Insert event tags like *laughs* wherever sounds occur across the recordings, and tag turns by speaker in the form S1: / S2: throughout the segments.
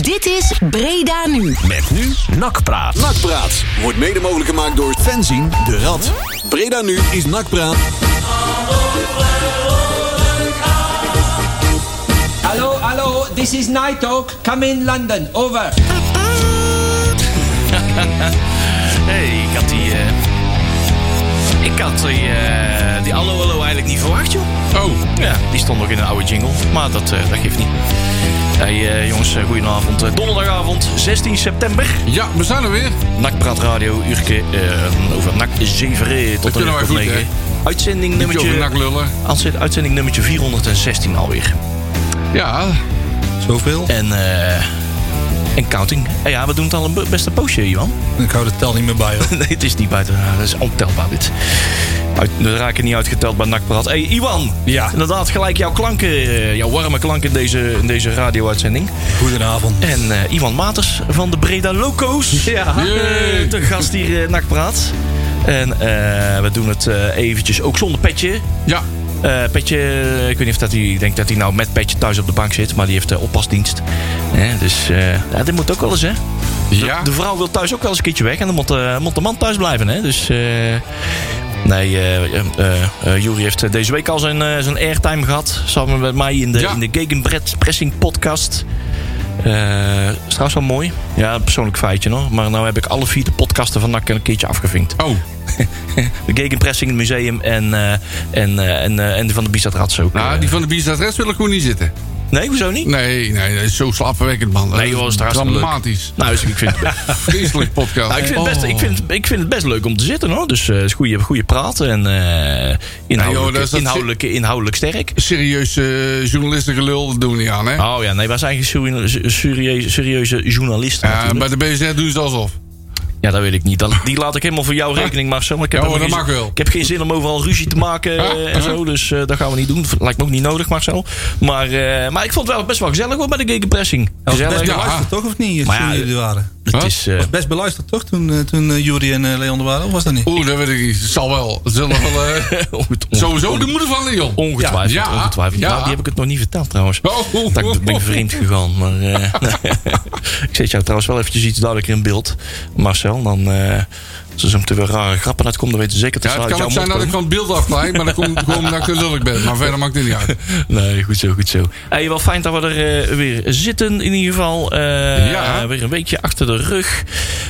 S1: Dit is Breda Nu.
S2: Met nu Nakpraat.
S3: Nou,
S4: Nakpraat wordt mede mogelijk gemaakt door Fenzien de Rad. Breda nu is Nakpraat.
S5: Hallo, hallo, this is Night Talk. Come in London, over.
S6: hey, ik had die... eh, ik had die, eh, die Allo Allo eigenlijk niet verwacht, joh. Oh. Ja, die stond nog in een oude jingle. Maar dat, eh, dat geeft niet. Hey eh, jongens, eh, goedenavond. Eh, Donderdagavond, 16 september.
S3: Ja, we zijn er weer.
S6: Nakpraat Radio, uurke eh, over Nak 7 tot een
S3: kunnen
S6: uur
S3: wij
S6: of
S3: goed,
S6: negen.
S3: hè?
S6: Uitzending
S3: Beetje over nak
S6: nummertje,
S3: lullen.
S6: uitzending nummertje 416 alweer.
S3: Ja,
S7: Zoveel?
S6: En, eh, en counting. Eh, ja, we doen het al een be- best een poosje, Johan.
S7: Ik hou de tel niet meer bij.
S6: *laughs*
S7: hoor.
S6: Nee, het is niet buiten. Dat is ontelbaar, dit. Uit, we raken niet uitgeteld bij Nakpraat. hey, Iwan.
S7: Ja.
S6: Inderdaad, gelijk jouw klanken, eh, jouw warme klanken in deze, in deze radio-uitzending.
S7: Goedenavond.
S6: En eh, Iwan Maters van de Breda Loco's. Ja.
S3: Yay.
S6: eh, Te gast hier eh, Nakpraat. En eh, we doen het eh, eventjes ook zonder petje.
S3: ja.
S6: Eh, Petje, eh, ik weet niet of dat hij ik denk dat hij nou met Petje thuis op de bank zit, maar die heeft eh, oppasdienst. Hè, dus eh, ja, dit moet ook wel eens, hè? De,
S3: Ja.
S6: de vrouw wil thuis ook wel eens een keertje weg en dan moet, eh, moet de man thuis blijven, hè? Dus. eh, nee, eh eh, eh, eh, Juri heeft eh, deze week al zijn, eh, zijn airtime gehad. Samen met mij in de,
S3: Ja.
S6: in de Gegenbrett Pressing Podcast. Eh is trouwens wel mooi. Ja, een persoonlijk feitje hoor. Maar nou heb ik alle vier de podcasten van NAC een keertje afgevinkt.
S3: Oh,
S6: De Gegenpressing, het museum en, eh, en, eh, en, eh, en die van de Bizatrats ook.
S3: nou,
S6: eh.
S3: die van de bierstadres wil ik gewoon niet zitten.
S6: Nee, hoezo niet?
S3: Nee, nee, dat is zo slappenwekkend, man.
S6: Nee, joh, is het hartstikke leuk.
S3: Dramatisch.
S6: Nou, dus ik vind, het best-
S3: Vreselijk podcast. Oh.
S6: *laughs* nou, ik, vind het best, ik, vind, ik vind het best leuk om te zitten hoor. Dus eh, het is goede, goede praten en eh inhoudelijk,
S3: dat is dat-
S6: inhoudelijk, inhoudelijk sterk.
S3: Serieus eh, journalistengelul, dat doen we niet aan, hè?
S6: Oh ja, nee, wij zijn geen serie- serieuze, serieuze journalisten.
S3: Ja,
S6: natuurlijk.
S3: bij de BZ doen ze alsof.
S6: Ja, dat weet ik niet. Dat, die laat ik helemaal voor jouw rekening, Marcel. Maar Ik heb,
S3: Ja, hoor,
S6: helemaal
S3: dat
S6: geen-
S3: mag wel.
S6: ik heb geen zin om overal ruzie te maken eh, en zo. Dus eh, dat gaan we niet doen. Lijkt me ook niet nodig, Marcel. Maar, eh, maar ik vond het wel best wel gezellig hoor, bij de Gegenpressing.
S7: Dat was best
S6: Gezellig.
S3: ja.
S7: beluisterd, toch? Of niet?
S6: Maar
S7: Maar
S6: ja,
S7: jullie er waren.
S6: Het is, eh, *laughs*
S7: was best beluisterd, toch? Toen, eh, toen eh, Jury en eh, Leon er waren. Of was dat niet?
S3: Oeh, dat weet ik niet. Zal wel. Zal wel
S6: *laughs*
S3: eh,
S6: onget-
S3: sowieso de moeder van Leon.
S6: Ongetwijfeld,
S3: Ja,
S6: ongetwijfeld.
S3: ja.
S6: Nou, die heb ik het nog niet verteld trouwens.
S3: Oh.
S6: Dat ik ben ik vreemd gegaan. Maar, eh, *laughs* ik zet jou trouwens wel eventjes iets duidelijker in beeld, Marcel. Dan, eh, als er zo meteen weer rare grappen uitkomen, dan weten we zeker dat
S3: Ja,
S6: ze
S3: het kan
S6: uit jouw
S3: ook zijn
S6: mond
S3: dat ik
S6: komen.
S3: van het beeld afleid, maar dat komt gewoon omdat ik te lullig ben. Maar verder maakt het niet uit.
S6: Nee, goed zo, goed zo. Hey, wel fijn dat we er eh, weer zitten in ieder geval. Eh,
S3: Ja.
S6: eh, weer een weekje achter de rug.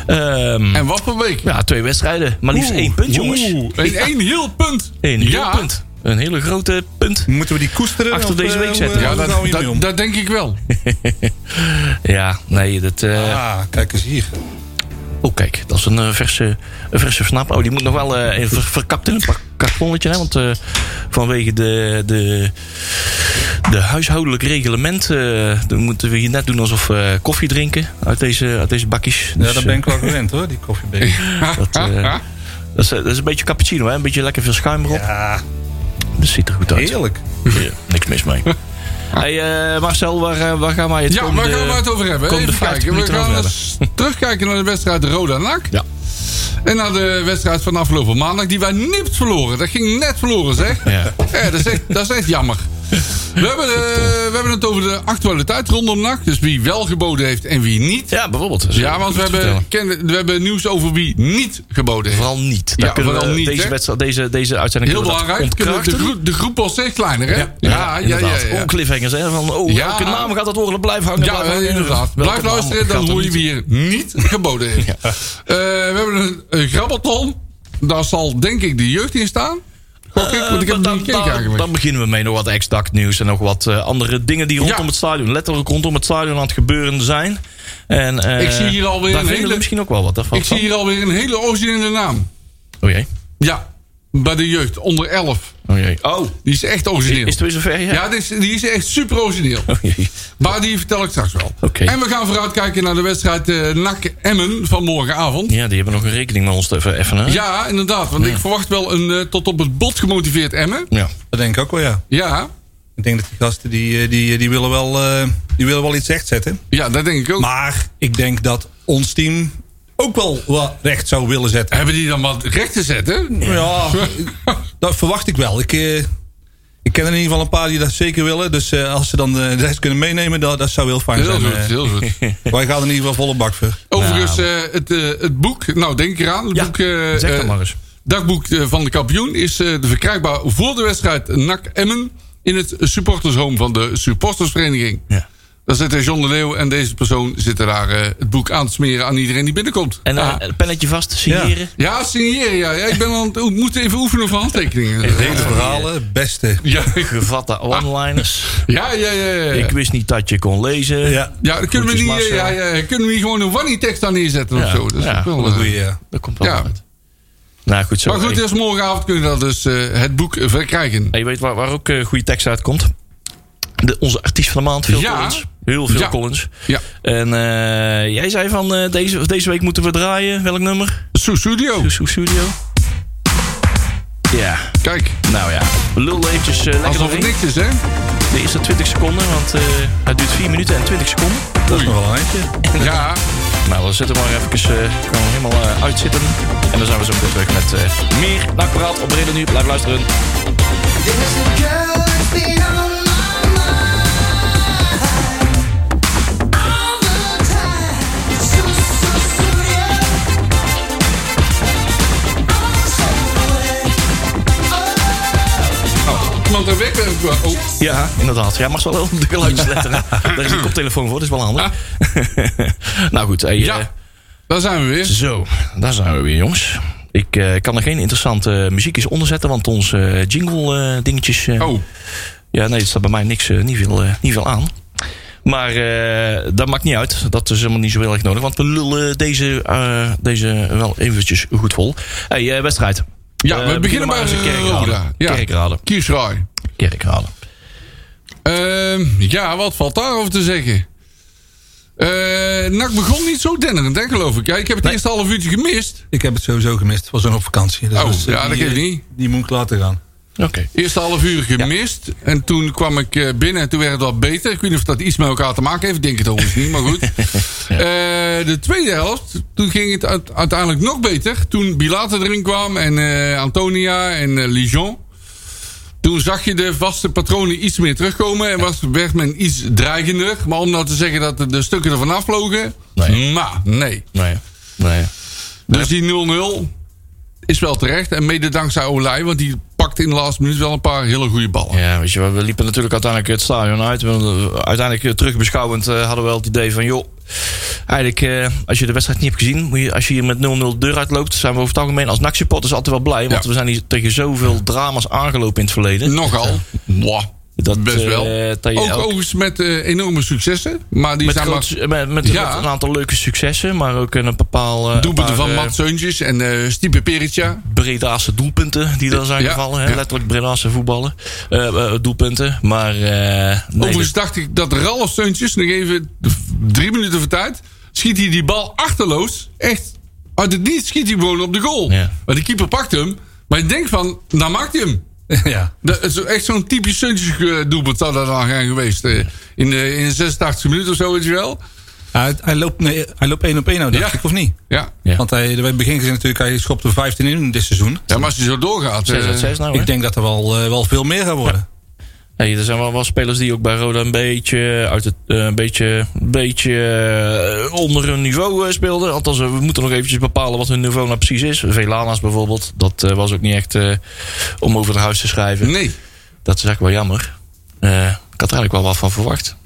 S6: Ehm,
S3: En wat voor week?
S6: ja, twee wedstrijden. Maar liefst één punt, jongens.
S3: Oeh, één, één heel punt.
S6: Eén heel
S3: ja.
S6: punt. Een hele grote punt.
S7: Moeten we die koesteren?
S6: Achter
S7: Of,
S6: deze
S7: eh,
S6: week
S7: hoe,
S6: zetten.
S7: eh,
S3: Ja,
S7: hoe
S3: dat,
S7: gaan we hiermee om?
S3: dat, dat denk ik wel.
S6: Ja, nee, dat... eh,
S7: Ah, kijk eens hier.
S6: Oh, kijk, dat is een eh, verse, een verse snap. Oh, die moet nog wel eh, even ver- verkapt in een pak- kartonnetje. Hè? Want eh, vanwege de, de, de huishoudelijk reglement eh, dan moeten we hier net doen alsof we koffie drinken uit deze, uit deze bakjes.
S7: Ja,
S6: Dus,
S7: dat ben ik wel gewend hoor, die koffiebeker.
S6: eh, dat,
S3: *laughs*
S6: eh, dat, is, dat is een beetje cappuccino, hè? een beetje lekker veel schuim erop.
S7: Ja,
S6: Dat ziet er goed uit.
S7: heerlijk.
S6: Ja, niks mis
S3: *laughs*
S6: mee. Hey, eh, Marcel, waar, eh, waar gaan wij het
S3: Ja, waar
S6: komende-
S3: gaan we het over hebben?
S6: komende
S3: Even
S6: 50
S3: kijken. We
S6: minuten
S3: gaan
S6: over hebben?
S3: eens *laughs* terugkijken naar de wedstrijd Roda-NAC.
S6: Ja.
S3: En naar de wedstrijd van afgelopen maandag, die wij nipt verloren. Dat ging net verloren, zeg.
S6: Ja.
S3: dat, is echt, dat is echt jammer. We hebben, eh, we hebben het over de actualiteit rondom NAC. Dus wie wel geboden heeft en wie niet.
S6: ja, bijvoorbeeld. Dat is
S3: Ja, want we
S6: goed te vertellen.
S3: hebben, ken- we hebben nieuws over wie niet geboden heeft.
S6: Vooral niet. Daar
S3: Ja,
S6: kunnen
S3: vooral
S6: we
S3: niet,
S6: deze,
S3: hè?
S6: wedstrijd, deze, deze uitzending
S3: Heel
S6: kunnen we dat
S3: belangrijk. Kunnen De,
S6: ontkrachten.
S3: groep, de groep was steeds kleiner, hè?
S6: Ja, inderdaad.
S3: ja.
S6: Oh, cliffhangers, hè? Van, oh,
S3: Ja.
S6: welke naam gaat dat worden? Blijf hangen.
S3: Ja, eh,
S6: blijf hangen.
S3: inderdaad.
S6: Welke
S3: Blijf
S6: naam
S3: luisteren,
S6: gaat
S3: dan
S6: er
S3: hoor je
S6: niet-
S3: weer niet geboden
S6: *laughs*
S3: heeft. Eh, we hebben een, een grabbelton. Daar zal denk ik de jeugd in staan. Gok ik, want ik heb het
S6: Eh, dan,
S3: niet gekeken
S6: dan-
S3: eigenlijk.
S6: dan beginnen we mee nog wat exact nieuws en nog wat eh, andere dingen die rondom
S3: Ja.
S6: het stadion, letterlijk rondom het stadion aan het gebeuren zijn. En, eh,
S3: Ik zie hier alweer
S6: Daar
S3: een
S6: vinden we
S3: hele-
S6: misschien ook wel wat. hè, van-
S3: Ik zie hier alweer een hele originele naam.
S6: Oh jee.
S3: Ja, bij de jeugd, onder 11.
S6: Oh jee. Oh,
S3: Die is echt
S6: is
S3: origineel.
S6: het weer zover? Ja.
S3: ja, die is, die is echt super origineel.
S6: Oh jee.
S3: Maar die vertel ik straks wel.
S6: Oké.
S3: En we gaan vooruitkijken naar de wedstrijd eh NAC Emmen van morgenavond.
S6: Ja, die hebben nog een rekening met ons te even. even hè?
S3: Ja, inderdaad. Want ik verwacht wel een eh, tot op het bot gemotiveerd Emmen.
S6: ja.
S7: Dat denk ik ook wel, ja.
S3: Ja,
S7: Ik denk dat die gasten die, eh, die, die, willen, wel, eh, die willen wel iets recht zetten.
S3: ja dat denk ik ook.
S7: Maar ik denk dat ons team ook wel wat recht zou willen zetten.
S3: Hebben die dan wat recht te zetten?
S7: Ja, dat verwacht ik wel. Ik, eh, Ik ken er in ieder geval een paar die dat zeker willen. Dus eh, als ze dan de rest kunnen meenemen, dat, dat zou heel fijn
S3: Heel
S7: zijn.
S3: goed,
S7: eh.
S3: heel
S6: *laughs*
S3: goed.
S7: *laughs* wij gaan er in ieder geval volle bak voor.
S3: Overigens, eh, het, eh, het boek, nou denk ik eraan. Het
S6: Ja,
S3: boek, eh,
S6: zeg dat
S3: eh,
S6: maar eens.
S3: Dagboek eh, van de kampioen is eh, verkrijgbaar voor de wedstrijd NAC Emmen. In het supportershome van de supportersvereniging.
S6: Ja.
S3: Daar zit John de Leeuw en deze persoon zitten daar eh, het boek aan te smeren aan iedereen die binnenkomt.
S6: En eh, dan
S3: Ah.
S6: een pennetje vast, signeren.
S3: Ja, signeren. Ja. Ja, ik ben aan het, ik moet even oefenen voor handtekeningen.
S7: Hele verhalen, beste.
S3: Ja,
S6: *laughs* Gevatte one-liners.
S3: ja, ja. ja, ja.
S6: Ik wist niet dat je kon lezen.
S7: Ja,
S3: Ja, dan kunnen we,
S6: Groetjes,
S3: niet, eh, ja,
S6: Marcel.
S3: ja, kunnen we hier gewoon een wanny tekst aan neerzetten of
S6: Ja,
S3: zo. Dat is
S6: ja,
S3: ook wel,
S6: wel
S3: eh,
S7: goeie. ja.
S6: Dat komt wel
S3: Ja.
S6: uit. Nou goed, zo.
S3: Maar goed,
S6: Hey,
S3: dus morgenavond kunnen we dat dus, eh, het boek verkrijgen.
S6: hey, je weet waar, waar ook eh, goede tekst uitkomt? De, onze artiest van de maand, Phil
S3: Ja.
S6: Collins. Heel veel
S3: Ja.
S6: Collins.
S3: Ja.
S6: En eh, jij zei van eh, deze, deze week moeten we draaien. Welk nummer?
S3: Soe Studio.
S6: Susu Studio. Ja,
S3: Kijk,
S6: nou ja. Lul eventjes eh, lekker
S3: alsof het
S6: doorheen.
S3: niks is, hè?
S6: De eerste 20 seconden, want eh, het duurt 4 minuten en 20 seconden.
S7: dat is nog wel een eindje.
S6: *laughs*
S3: Ja,
S6: Nou, dan zetten we maar even eh, gewoon helemaal eh, uitzitten. En dan zijn we zo meteen terug met eh, meer Nakpraat op Breda Nu. Blijf luisteren.
S2: There's a girl that's been on my mind all the time. So so surreal. Oh, so
S3: iemand er weg. eh, Oh,
S6: Ja, inderdaad. Ja, mag ze wel op de *laughs* geluidjes letten. hè? Daar is een koptelefoon voor, dat is wel handig. *laughs* nou goed, hey, eh,
S3: ja. Daar zijn we weer.
S6: zo, daar zijn we weer jongens. Ik eh, kan er geen interessante muziekjes onder zetten, want onze jingle eh, dingetjes... eh,
S3: Oh,
S6: Ja, nee, er staat bij mij niks, eh, niet, veel, eh, niet veel aan. Maar eh, dat maakt niet uit. Dat is helemaal niet zo heel erg nodig. Want we lullen deze, eh, deze wel eventjes goed vol. hey, eh, wedstrijd.
S3: ja,
S6: Eh,
S3: we beginnen bij
S6: eens een
S3: Roda.
S6: kerkraden.
S3: Ja,
S6: Kerkraden.
S3: Kiesraai.
S6: Kerkraden.
S3: Ehm, ja, wat valt daarover te zeggen? Eh NAC begon niet zo dennerend, hè, geloof ik. Ja, ik heb het eerste half uurtje gemist.
S7: Ik heb het sowieso gemist. Het was nog op vakantie. Dus
S3: Oh,
S7: dat is, eh,
S3: ja, dat
S7: die,
S3: geeft
S7: eh,
S3: niet.
S7: Die moet ik laten
S6: *laughs*
S7: gaan.
S6: Oké.
S3: Eerste half uur gemist. En toen kwam ik eh, binnen en toen werd het wat beter. Ik weet niet of dat iets met elkaar te maken heeft. Ik denk het overigens niet, maar
S6: *laughs*
S3: goed. Eh, de tweede helft, toen ging het uit- uiteindelijk nog beter. Toen Bilate erin kwam en eh, Antonia en eh, Lijon. Toen zag je de vaste patronen iets meer terugkomen. En was, werd men iets dreigender. Maar om nou te zeggen dat de, de stukken ervan afvlogen...
S6: Nee.
S3: Maar, nee.
S6: Nee. Nee.
S3: Dus die 0-0 is wel terecht. En mede dankzij Olij, want die pakt in de laatste minuut wel een paar hele goede ballen.
S6: Ja, weet je, wel, we liepen natuurlijk uiteindelijk het stadion uit. We- Uiteindelijk eh, terugbeschouwend eh, hadden we wel het idee van... joh, eigenlijk eh, als je de wedstrijd niet hebt gezien... Moet je, als je hier met 0-0 de deur uitloopt... zijn we over het algemeen als NAC-supporters altijd wel blij. Want
S3: Ja.
S6: we zijn hier tegen zoveel drama's aangelopen in het verleden.
S3: Nogal. Mwah.
S6: Dat,
S3: Best
S6: eh,
S3: wel.
S6: dat je
S3: ook
S6: elk-
S3: overigens met eh, enorme successen. Maar die
S6: Met,
S3: zijn
S6: groot-
S3: maar
S6: met, met,
S3: Ja.
S6: met een aantal leuke successen, maar ook een bepaal... eh,
S3: doelpunten
S6: paar,
S3: van
S6: eh,
S3: Matt Seuntjes en eh Stipe Peritja.
S6: Bredaanse doelpunten die dan zijn
S3: Ja,
S6: gevallen. hè.
S3: ja.
S6: Letterlijk Bredaanse voetballen. eh, eh, doelpunten. Maar eh, nee,
S3: Overigens dacht ik dat Ralf Seuntjes, nog even drie minuten voor tijd, schiet hij die bal achterloos. Echt, uit het niet schiet hij gewoon op de goal.
S6: Ja.
S3: Maar de keeper pakt hem. Maar je denkt van, nou maakt hij hem.
S7: ja.
S3: Dat is echt zo'n typisch Seuntjes eh, doelpunt zou dat dan zijn geweest. eh, in, de, in de 86 minuten of zo, weet je wel.
S7: Hij, hij loopt, nee, hij loopt één op één, nou, dacht
S3: Ja.
S7: ik, of niet?
S3: Ja.
S6: Ja.
S7: Want hij, bij het begin gezien natuurlijk, hij schopte 15 in dit seizoen.
S3: ja, maar als hij zo doorgaat.
S6: zes
S3: eh,
S6: uit zes nou, hè?
S7: Ik denk dat er wel, eh, wel veel meer gaat worden.
S6: Nee, er zijn wel, wel spelers die ook bij Roda een beetje, uit het, eh, een beetje, een beetje eh, onder hun niveau eh, speelden. Althans, eh, we moeten nog eventjes bepalen wat hun niveau nou precies is. Velana's bijvoorbeeld, dat eh, was ook niet echt eh, om over het huis te schrijven.
S3: Nee.
S6: Dat is eigenlijk wel jammer. Eh, ik had er eigenlijk wel wat van verwacht.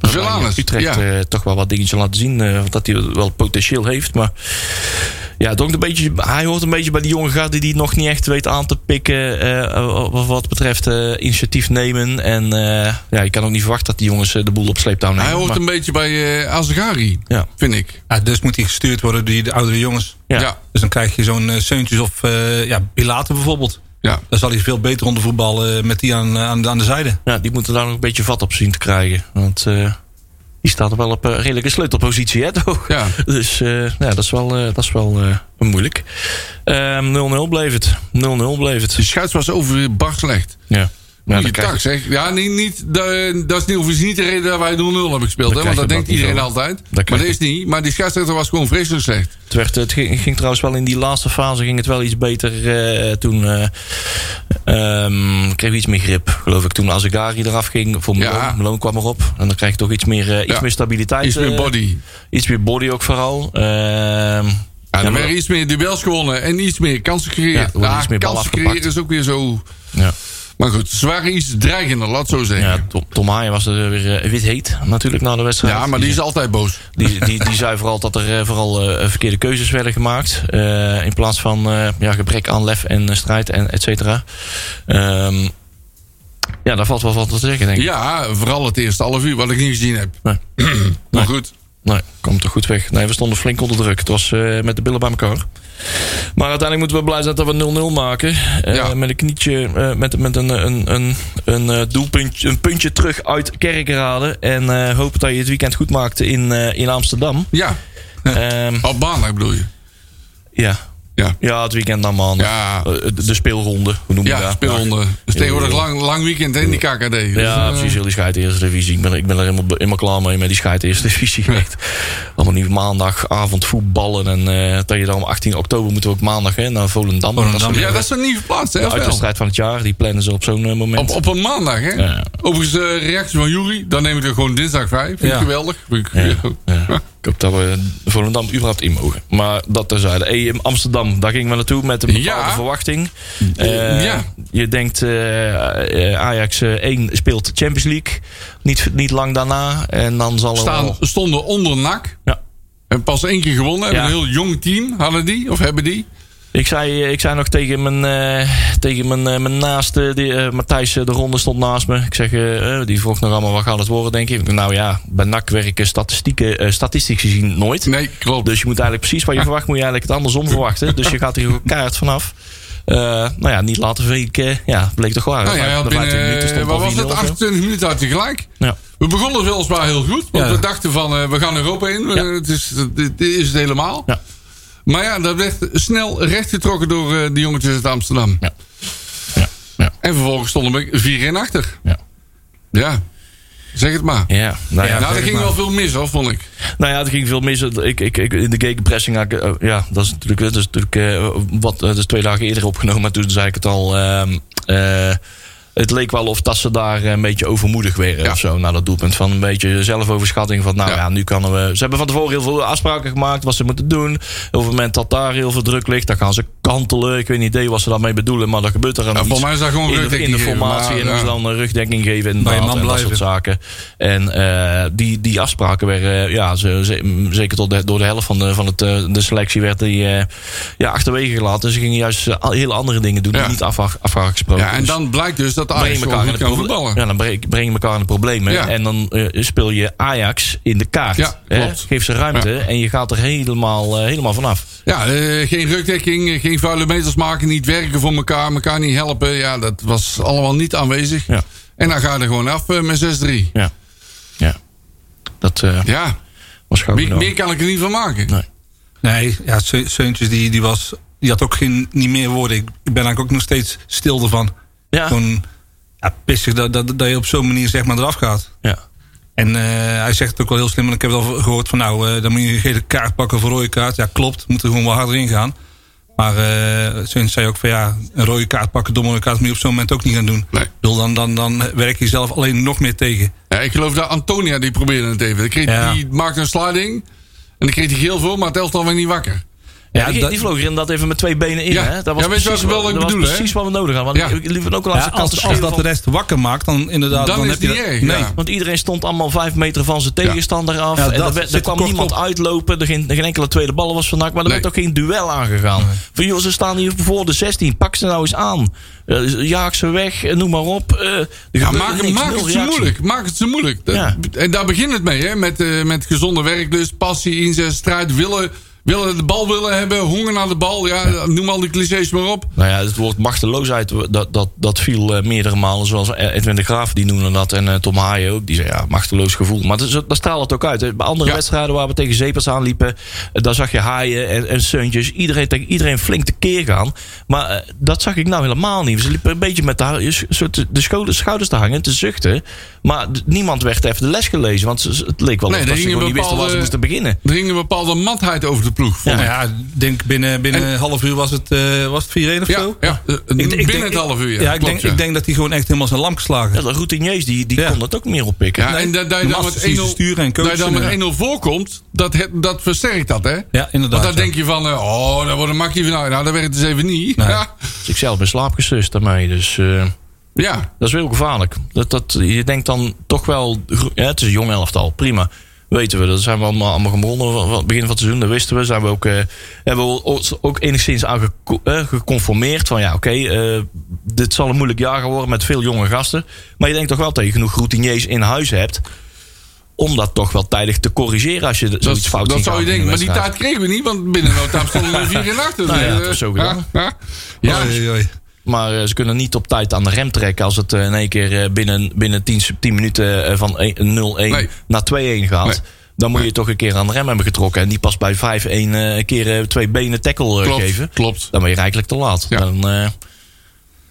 S3: Velanus,
S6: Utrecht
S3: ja.
S6: eh, toch wel wat dingetjes laten zien. eh, want dat hij wel potentieel heeft. Maar ja, het hangt een beetje, hij hoort een beetje bij die jonge gaten die het nog niet echt weet aan te pikken. eh, wat, wat betreft eh, initiatief nemen. En eh, ja, je kan ook niet verwachten dat die jongens eh, de boel op sleeptouw nemen.
S3: Hij hoort
S6: maar-
S3: een beetje bij eh Azagari,
S6: Ja.
S3: vind ik.
S7: Ja, dus moet hij gestuurd worden door de oudere jongens.
S6: ja.
S3: Ja.
S7: Dus dan krijg je zo'n eh, Seuntjes of eh ja, Pilate bijvoorbeeld.
S3: Ja.
S7: Dan zal hij veel beter onder voetballen eh, met die aan, aan, aan de zijde.
S6: Ja, die moeten daar nog een beetje vat op zien te krijgen. Want eh, die staat er wel op eh, redelijke sleutelpositie, hè, *laughs* toch?
S3: Ja.
S6: Dus eh, ja, dat is wel, eh, dat is wel eh, moeilijk. Ehm, 0-0 bleef het. 0-0 bleef
S3: De
S6: het.
S3: scheids was over bar slecht.
S6: Ja.
S3: Ja,
S6: Ja, dan krijg je-
S3: zeg. Ja, niet, niet, dat, dat is niet, overigens niet de reden dat wij 0-0 hebben gespeeld.
S6: Dan
S3: Hè, want dat
S6: krijg je dat
S3: denkt
S6: niet
S3: iedereen
S6: zo.
S3: altijd.
S6: krijg
S3: maar dat
S6: je-
S3: is niet. Maar die scheidsrechter was gewoon vreselijk slecht.
S6: Het, werd, het ging, ging trouwens wel in die laatste fase ging het wel iets beter. eh, toen eh, Ehm kreeg iets meer grip, geloof ik. Toen Azagari eraf ging voor Malone.
S3: Ja.
S6: Malone kwam erop. En dan krijg je toch iets meer, eh, iets
S3: Ja.
S6: meer stabiliteit.
S3: Iets meer
S6: eh,
S3: body.
S6: iets meer body ook vooral. Ehm,
S3: Ja,
S6: ja,
S3: er
S6: maar-
S3: werden iets meer duels gewonnen en iets meer kansen
S6: Ja, er
S3: gecreëerd.
S6: wordt
S3: Ja,
S6: iets meer bal
S3: kansen
S6: afgepakt.
S3: creëren is ook weer zo...
S6: ja.
S3: Maar goed, ze waren iets dreigender, laat het zo zeggen.
S6: Ja,
S3: Ja,
S6: Tom, Tom Haaien was er weer eh, wit heet natuurlijk na de wedstrijd.
S3: maar die is altijd boos.
S6: Die, die, die zei vooral dat er eh, vooral eh, verkeerde keuzes werden gemaakt. eh, in plaats van eh, ja, gebrek aan lef en eh, strijd en et cetera. Ehm, ja, daar valt wel wat te zeggen, denk ik.
S3: Ja, vooral het eerste half uur, wat ik niet gezien heb.
S6: Nee.
S3: *clears throat* Maar
S6: Nee.
S3: goed,
S6: Nee, kwam toch goed weg. Nee, we stonden flink onder druk. Het was eh, met de billen bij elkaar. Maar uiteindelijk moeten we blij zijn dat we 0-0 maken. Eh,
S3: Ja.
S6: Met een knietje, eh, met, met een, een, een, een eh, doelpuntje, een puntje terug uit Kerkrade. En eh, hopen dat je het weekend goed maakt in, eh, in Amsterdam.
S3: ja.
S6: Ehm,
S3: Op maandag bedoel je.
S6: ja.
S3: Ja,
S6: ja, het weekend dan man.
S3: Ja.
S6: Eh, de, de speelronde, hoe noem je
S3: ja
S6: dat?
S3: speelronde. Het is tegenwoordig lang, lang weekend hè, in die KKD. Dus,
S6: Ja,
S3: eh,
S6: precies. Heel die scheid eerste divisie. Ik ben, ik ben er helemaal, helemaal klaar mee met die scheid eerste divisie. Echt. Allemaal nieuw maandagavond voetballen. En eh, dat je dan om 18 oktober moeten we ook maandag hè, naar Volendam.
S7: Volendam,
S6: dat is
S3: Ja, dat is een nieuwe plaats, hè?
S6: de
S3: of wel?
S6: uitwedstrijd van het jaar. Die plannen ze op zo'n eh, moment.
S3: Op, op een maandag, hè?
S6: Ja.
S3: Overigens, de reactie van Jury, dan neem ik er gewoon dinsdag vrij. Vind ik
S6: Ja.
S3: geweldig. Vind ik,
S6: Ja, ja.
S3: ja.
S6: Ik hoop dat we Volendam überhaupt in mogen. Maar dat terzijde. Hey, in Amsterdam, daar gingen we naartoe met een bepaalde
S3: Ja.
S6: verwachting. Eh,
S3: Ja.
S6: Je denkt, eh, eh, Ajax eh, 1 speelt Champions League. Niet, niet lang daarna. En dan zal er
S3: Staan,
S6: wel-
S3: stonden onder NAC.
S6: Ja.
S3: En pas één keer gewonnen.
S6: Ja.
S3: Een heel jong team hadden die, of hebben die.
S6: Ik zei, ik zei nog tegen mijn, eh, tegen mijn, eh, mijn naaste, die, eh, Matthijs eh, de Ronde stond naast me. Ik zeg, eh, eh, die vroeg nog allemaal, wat gaat het worden, denk ik. Ik dacht, Nou ja, bij NAC werken statistieken, eh, statistisch gezien nooit.
S3: Nee, klopt.
S6: Dus je moet eigenlijk precies wat je verwacht, moet je eigenlijk het andersom verwachten. Dus je gaat hier ook kaart vanaf. Eh, nou ja, niet later week, eh, ja, bleek toch waar.
S3: nou ja,
S6: Dat
S3: binnen, eh, wat was het?
S6: 8?
S3: 28 minuten had hij gelijk.
S6: Ja.
S3: We begonnen weliswaar heel goed. Want we dachten van, eh, we gaan Europa in.
S6: Ja.
S3: Eh, het is, dit, dit is het helemaal.
S6: Ja.
S3: Maar ja, dat werd snel rechtgetrokken door eh die jongetjes uit Amsterdam.
S6: Ja. Ja. Ja.
S3: En vervolgens stonden we 4 in achter.
S6: Ja.
S3: Ja, zeg het maar.
S6: Ja, nou ja,
S3: nou, er ging wel veel mis, hoor, vond ik.
S6: Nou ja, er ging veel mis. Ik, ik, ik, in de gegenpressing, had ik, eh, ja, dat is natuurlijk, dat is natuurlijk eh, wat, eh, dat is twee dagen eerder opgenomen. Maar toen zei ik het al. ehm, eh, het leek wel of dat ze daar eh, een beetje overmoedig werden
S3: Ja.
S6: of zo. Naar dat doelpunt van een beetje zelfoverschatting. Van nou
S3: Ja.
S6: ja, nu kunnen we... Ze hebben van tevoren heel veel afspraken gemaakt wat ze moeten doen. Op het moment dat daar heel veel druk ligt, dan gaan ze kantelen. Ik weet niet idee wat ze daarmee bedoelen, maar dat gebeurt er aan
S3: Ja,
S6: iets.
S3: Nou, volgens mij is dat gewoon
S6: in de,
S3: rugdekking
S6: in de
S3: geven,
S6: formatie
S3: maar,
S6: en
S3: ja.
S6: hoe ze dan een rugdekking geven inderdaad,
S7: man
S6: en dat soort
S7: blijven.
S6: zaken. En eh, die, die afspraken werden, eh, ja, ze, ze- mm, zeker tot de, door de helft van de, van het, eh, de selectie werd die eh, ja, achterwege gelaten. Ze gingen juist eh, al- hele andere dingen doen
S3: Ja.
S6: die niet af, af gesproken.
S3: Ja, en dan blijkt dus dat
S6: breng
S3: Ajax
S6: je
S3: gewoon
S6: elkaar in
S3: goed
S6: de
S3: kan
S6: proble-
S3: voetballen.
S6: Ja, dan breng, breng je elkaar in de problemen.
S3: Ja.
S6: En dan eh, speel je Ajax in de kaart.
S3: Ja,
S6: hè.
S3: klopt.
S6: Geef ze ruimte en je gaat er helemaal, eh, helemaal vanaf.
S3: Ja, eh, geen rugdekking, eh, geen vuile meters maken, niet werken voor elkaar, elkaar niet helpen. Ja, dat was allemaal niet aanwezig.
S6: Ja.
S3: En dan ga je er gewoon af eh, met 6-3.
S6: Ja, ja. dat eh,
S3: Ja,
S6: was gewoon
S3: meer,
S6: enorm.
S3: meer kan ik er niet van maken.
S6: Nee.
S7: Nee, ja, Seu- Seuntjes die, die was... Die had ook geen, niet meer woorden. Ik ben eigenlijk ook nog steeds stil ervan.
S6: Ja.
S7: Gewoon ja, pissig dat, dat, dat je op zo'n manier zeg maar eraf gaat.
S6: Ja.
S7: En eh, hij zegt het ook wel heel slim. En ik heb wel gehoord van nou, eh, dan moet je een gele kaart pakken voor rode kaart. Ja, klopt. Moet er gewoon wel harder in gaan. Maar eh Seuntjes zei ook van ja, een rode kaart pakken, domme rode kaart... moet je op zo'n moment ook niet gaan doen.
S3: Nee.
S7: Ik bedoel, Dan, dan, dan werk je zelf alleen nog meer tegen.
S3: Ja, ik geloof dat Antonia die probeerde het even. Die, kreeg,
S7: Ja.
S3: die maakte een sliding. En die kreeg hij heel veel, maar het elftal weer niet wakker.
S6: Ja,
S7: Ja,
S6: die,
S7: dat-
S6: die vloog er inderdaad even met twee benen in.
S3: Ja.
S6: Hè? Dat was
S3: Ja, weet je
S6: precies,
S3: wat ik
S6: wat,
S3: bedoel,
S6: dat was
S3: hè?
S6: precies wat we nodig hadden.
S3: Ja.
S6: Want ik liep ook langs
S7: Ja,
S6: de kant te
S7: als, als
S6: schreeuwen
S7: dat de
S6: van-
S7: rest wakker maakt, dan inderdaad...
S3: Dan is
S7: heb je
S3: die
S7: dat-
S3: erg,
S7: Nee,
S3: ja.
S6: Want iedereen stond allemaal vijf meter van zijn tegenstander af.
S7: Ja,
S6: en
S7: dat
S6: er, werd- er
S7: zit
S6: kwam
S7: kort
S6: niemand
S7: op.
S6: uitlopen. Er geen, geen enkele tweede bal was vandaag. Maar er
S3: Nee.
S6: werd ook geen duel aangegaan. Van joh, ze staan hier voor de 16. Pak ze nou eens aan. Eh, jaag ze weg. eh, Noem maar op. Eh, er
S3: Ja,
S6: gebeurde
S3: maak,
S6: niks,
S3: maak
S6: nul
S3: het ze
S6: reactie.
S3: moeilijk. Maak het ze moeilijk. Dat-
S6: Ja.
S3: En daar begint het mee, hè? Met, eh, met gezonde werklust, passie, inzet, strijd, willen, willen de bal willen hebben, honger naar de bal. Ja, noem al die clichés maar op.
S6: Nou ja, het woord machteloosheid, dat, dat, dat viel eh, meerdere malen. Zoals Edwin de Graaf, die noemde dat. En eh, Tom Haaien ook, die zei ja, machteloos gevoel. Maar dat, is- dat straalt het ook uit. hè. Bij andere
S3: Ja.
S6: wedstrijden waar we tegen zeepers aanliepen... eh, daar zag je Haaien en, en Seuntjes. Iedereen tegen iedereen flink tekeer gaan. Maar eh, dat zag ik nou helemaal niet. Ze liepen een beetje met de, ha- een soort de schouders, schouders te hangen, te zuchten. Maar d- niemand werd even de les gelezen. Want ze- ze- het leek wel
S3: Nee,
S6: of
S3: er
S6: dat ze
S3: hing
S6: gewoon
S3: een
S6: niet wisten waar
S3: bepaalde-
S6: ze moesten beginnen.
S3: Er ging een bepaalde matheid over de grote ploeg. vond
S7: Nou
S3: ik.
S7: ja, ik denk binnen, binnen een half uur was het, eh was het 4-1 of
S3: Ja,
S7: zo.
S3: ja. Eh,
S7: Ik- ik
S3: binnen
S7: denk-
S3: het half uur, ja.
S7: Ja, ik,
S3: Klopt,
S7: denk,
S3: ja.
S7: ik denk dat hij gewoon echt helemaal zijn lamp geslagen.
S6: Ja, de routiniers die, die
S7: Ja.
S6: kon dat ook meer oppikken.
S3: Ja, en dat, dat je
S7: de
S3: dan met
S7: masters die
S3: 1-0
S7: sturen en
S3: dat je dan
S7: coachen,
S3: met 1-0 voorkomt, dat, het- dat versterkt dat, hè?
S7: Ja,
S3: Want
S7: inderdaad.
S3: dan
S7: ja.
S3: denk je van, eh, oh, dat wordt een makkie van, nou, nou, dat werkt dus even niet.
S7: Nee.
S3: Ja.
S6: Dus ik zelf ben slaapgesust daarmee. Dus eh,
S3: ja.
S6: dat is wel gevaarlijk. Dat, dat, je denkt dan toch wel... Ja, het is een jong elftal, prima. Weten we, dat zijn we allemaal, allemaal gewonnen van van het begin van het seizoen. Dat wisten we. Zijn we ook, eh, hebben we ons ook enigszins aan geco- eh, geconformeerd. Van ja, oké, eh, dit zal een moeilijk jaar gaan worden met veel jonge gasten. Maar je denkt toch wel dat je genoeg routiniers in huis hebt... om dat toch wel tijdig te corrigeren als je d-
S3: Dat,
S6: zoiets fout
S3: dat
S6: ziet
S3: zou
S6: gaan
S3: je
S6: in
S3: denken,
S6: een
S3: maar die
S6: wedstrijd.
S3: taart kregen we niet, want binnen no time stonden
S7: *laughs*
S3: we 4 in achter.
S6: Nou ja,
S3: Eh,
S6: dat is ook wel.
S3: Ja, ja.
S7: Oei, oei, oei.
S6: Maar eh, ze kunnen niet op tijd aan de rem trekken als het eh, in één keer eh, binnen, binnen 10, sub- 10 minuten eh, van een- 0-1
S3: Nee.
S6: naar 2-1 gaat.
S3: Nee.
S6: Dan moet je toch een keer aan de rem hebben getrokken. En die pas bij 5-1 eh, een keer eh, twee benen tackle eh,
S3: klopt,
S6: geven.
S3: klopt.
S6: Dan ben je rijkelijk te laat.
S3: Ja.
S6: Dan, eh,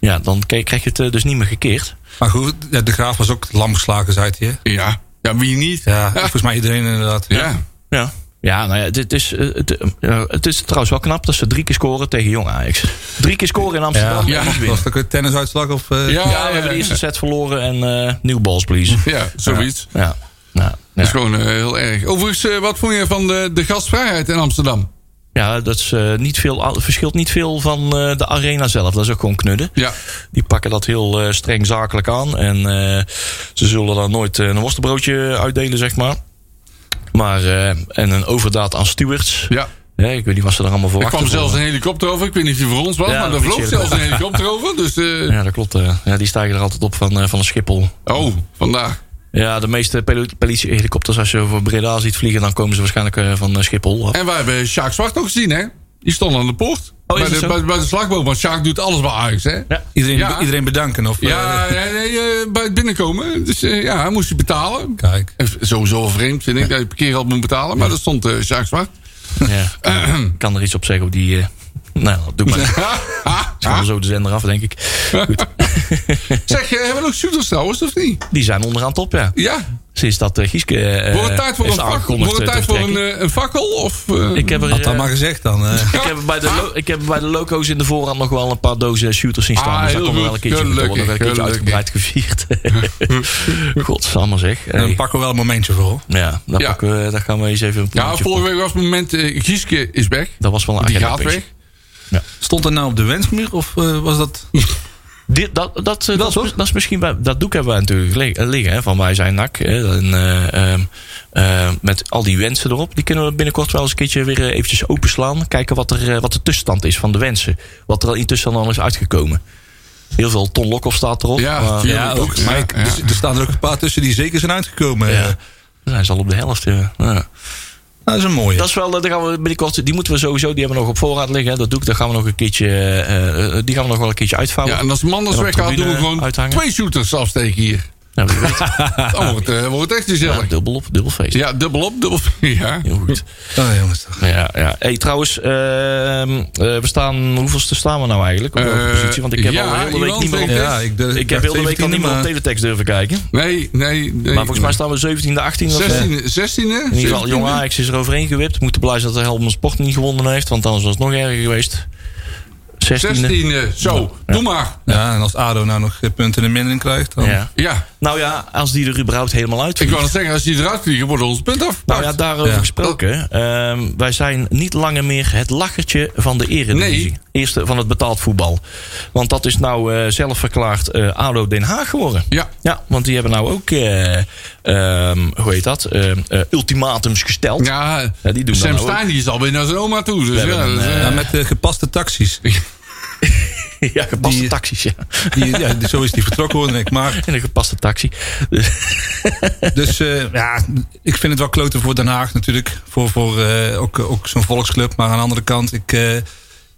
S6: ja, dan k- krijg je het eh, dus niet meer gekeerd.
S7: Maar goed, ja, de graaf was ook lam geslagen, zei hij. hè?
S3: Ja, ja wie niet?
S7: Ja,
S3: ja.
S7: volgens mij iedereen inderdaad.
S3: ja.
S6: Ja. Ja, nou ja, dit is, eh, het, eh, het is trouwens wel knap dat ze drie keer scoren tegen Jong Ajax. Drie keer scoren in Amsterdam.
S3: Ja.
S6: en niet winnen.
S7: Was dat een tennisuitslag? Of, eh,
S3: Ja,
S6: Ja, we hebben de eerste set verloren en eh nieuw balls, please.
S3: Ja, zoiets.
S6: Ja. Nou,
S3: Dat is
S6: ja.
S3: gewoon eh, heel erg. Overigens, eh, wat vond je van de, de gastvrijheid in Amsterdam?
S6: Ja, dat is, eh, niet veel, a- verschilt niet veel van eh, de arena zelf. Dat is ook gewoon knudden.
S3: Ja,
S6: Die pakken dat heel eh, streng zakelijk aan. En eh, ze zullen daar nooit eh, een worstenbroodje uitdelen, zeg maar. Maar, eh, en een overdaad aan stewards.
S3: ja.
S6: Hè, ik weet niet wat ze daar allemaal voor
S3: Er kwam
S6: wachten
S3: zelfs
S6: voor.
S3: een helikopter over. Ik weet niet of die voor ons was,
S6: Ja,
S3: maar er
S6: dat
S3: vloog
S6: weet je
S3: zelfs een helikopter over. Dus, eh,
S6: Ja, dat klopt. eh. ja, die stijgen er altijd op van, eh, van een Schiphol.
S3: oh, vandaag.
S6: Ja, de meeste poli- politie-helikopters, als je over Breda ziet vliegen... dan komen ze waarschijnlijk eh, van eh, Schiphol.
S3: En wij hebben Sjaak Zwart nog gezien, hè? Die stond aan de poort.
S6: Oh, is
S3: bij,
S6: dat
S3: de,
S6: zo?
S3: bij, bij de slagboom. Want Sjaak doet alles bij Ajax, hè?
S6: Ja.
S7: Iedereen,
S3: Ja.
S7: iedereen bedanken. Of, eh,
S3: Ja, nee, nee, eh, bij het binnenkomen. Dus eh, ja, hij moest je betalen.
S7: Kijk.
S3: Eh, Sowieso vreemd, vind ik, dat je parkeergeld moet betalen. Maar dat stond eh Sjaak Zwart.
S6: Ja, ik kan er iets op zeggen op die... eh, nou, doe maar.
S3: *laughs*
S6: Ik
S3: Ah.
S6: haal zo de zender af, denk ik. Goed.
S3: Zeg, eh, hebben we nog shooters trouwens, of niet?
S6: Die zijn onderaan top, ja.
S3: Ja.
S6: Sinds dat eh, Gieske eh,
S3: Wordt het tijd voor, een,
S6: heeft
S3: vak,
S6: aangekondigd
S3: wordt het
S6: eh,
S3: tijd
S6: te
S3: voor een,
S6: vertrekken.
S3: eh, een fakkel? Of, eh,
S6: Ik heb er...
S7: Had dat
S6: eh,
S7: maar gezegd dan. eh.
S6: ik heb, er bij de
S3: Ah.
S6: lo- ik heb er bij de loco's in de voorhand nog wel een paar dozen shooters zien staan.
S3: Ah,
S6: dus dat
S3: heel
S6: komt wel
S3: goed.
S6: een keertje goed. Er wordt nog wel een keertje
S3: Gelukkig,
S6: uitgebreid gevierd.
S3: *laughs*
S6: Godsamme zeg. Hey.
S7: Dan pakken we wel een momentje voor.
S6: Ja, daar,
S3: Ja.
S6: pakken we, daar gaan we eens even een
S3: ja,
S6: plaatje
S3: vorige
S6: op.
S3: week was het moment, eh, Gieske is weg.
S6: Dat was wel een
S3: Die
S6: agenda
S3: gaat weg.
S7: Stond dat nou op de wensmuur? Of eh, was dat...
S6: Dit, dat, dat, eh, dat, is, dat is misschien bij, dat doek hebben wij natuurlijk lig- eh, liggen. Hè, van wij zijn nak. Hè, en, eh, ehm, eh, met al die wensen erop. Die kunnen we binnenkort wel eens een keertje weer eh, eventjes openslaan. Kijken wat, er, eh, wat de tussenstand is van de wensen. Wat er al intussen al is uitgekomen. Heel veel Ton Lokhoff staat erop.
S3: Ja,
S6: maar,
S3: tuurlijk. Ja, ook.
S7: Maar
S3: Ja,
S7: ik-
S3: ja.
S7: dus- er staan er ook een paar tussen die zeker zijn uitgekomen. eh.
S6: ja, we zijn ze al op de helft. eh, ja.
S7: Dat is een mooie.
S6: Dat is wel, eh, daar gaan we binnenkort, die moeten we sowieso, die hebben we nog op voorraad liggen. Hè, dat doek, daar gaan we nog een keertje, eh, eh, die gaan we nog wel een keertje uitvouwen.
S3: Ja, en als Manders
S6: En op
S3: weg gaat, doen we
S6: tribune
S3: gewoon
S6: uithangen.
S3: twee shooters afsteken
S6: *laughs*
S3: hier.
S6: Nou, wie
S3: *laughs*
S6: weet.
S3: Dan wordt, eh, wordt het echt
S6: Ja,
S3: gezellig.
S6: dubbel op, dubbel feest.
S3: Ja, dubbel op, *laughs* dubbel. Ja.
S6: Heel goed.
S7: Ah, jongens, toch.
S6: Ja, ja. Hey, trouwens, ehm, eh, we staan, hoeveelste staan we nou eigenlijk op welke
S3: Eh,
S6: positie? Want ik heb
S3: ja,
S6: al de hele week
S3: Iwan
S6: niet meer op,
S3: Oké.
S7: Ja, ik, durf-
S6: ik heb
S7: dacht
S6: heel de week al
S7: 17e,
S6: niet meer op
S7: maar-
S6: teletext durven kijken. Maar
S3: Nee, nee, nee.
S6: volgens mij staan we 17 18 of zo.
S3: 16, 16 e
S6: eh, In ieder geval, jong Ajax is er overheen gewipt. Moeten blij zijn dat de Helmond Sport niet gewonnen heeft, want anders was het nog erger geweest. 16e.
S3: 16 e Zo, doe maar.
S7: Ja, en als ADO nou nog eh, punten in de mindering krijgt, dan...
S6: Ja.
S3: Ja,
S6: Nou ja, als die er überhaupt helemaal uit
S3: ik wou net zeggen, als die eruit vliegen, worden ons punt af.
S6: Nou ja, daarover
S7: Ja.
S6: gesproken. Ehm, wij zijn niet langer meer het lachertje van de eredivisie.
S3: Nee.
S6: Eerste van het betaald voetbal. Want dat is nou eh, zelf verklaard eh ADO Den Haag geworden.
S3: Ja.
S6: Ja, want die hebben nou ook, eh, ehm, hoe heet dat, Ehm, eh, ultimatums gesteld.
S3: Ja,
S6: Ja, die doen
S3: Sam
S6: dat nou
S3: Stein die is alweer naar zijn oma toe. Dus
S6: hebben
S3: ja,
S6: een,
S3: dat is, eh,
S7: Ja, met eh, gepaste taxis.
S6: *laughs* ja, gepaste
S7: Die-
S6: taxis, ja. *laughs*
S7: Die, ja, die- zo is die vertrokken, hoorde ik. Maar,
S6: In een gepaste taxi. Dus,
S7: dus eh, ja, ik vind het wel kloten voor Den Haag natuurlijk. Voor, voor eh, ook, ook zo'n volksclub. Maar aan de andere kant, ik, eh,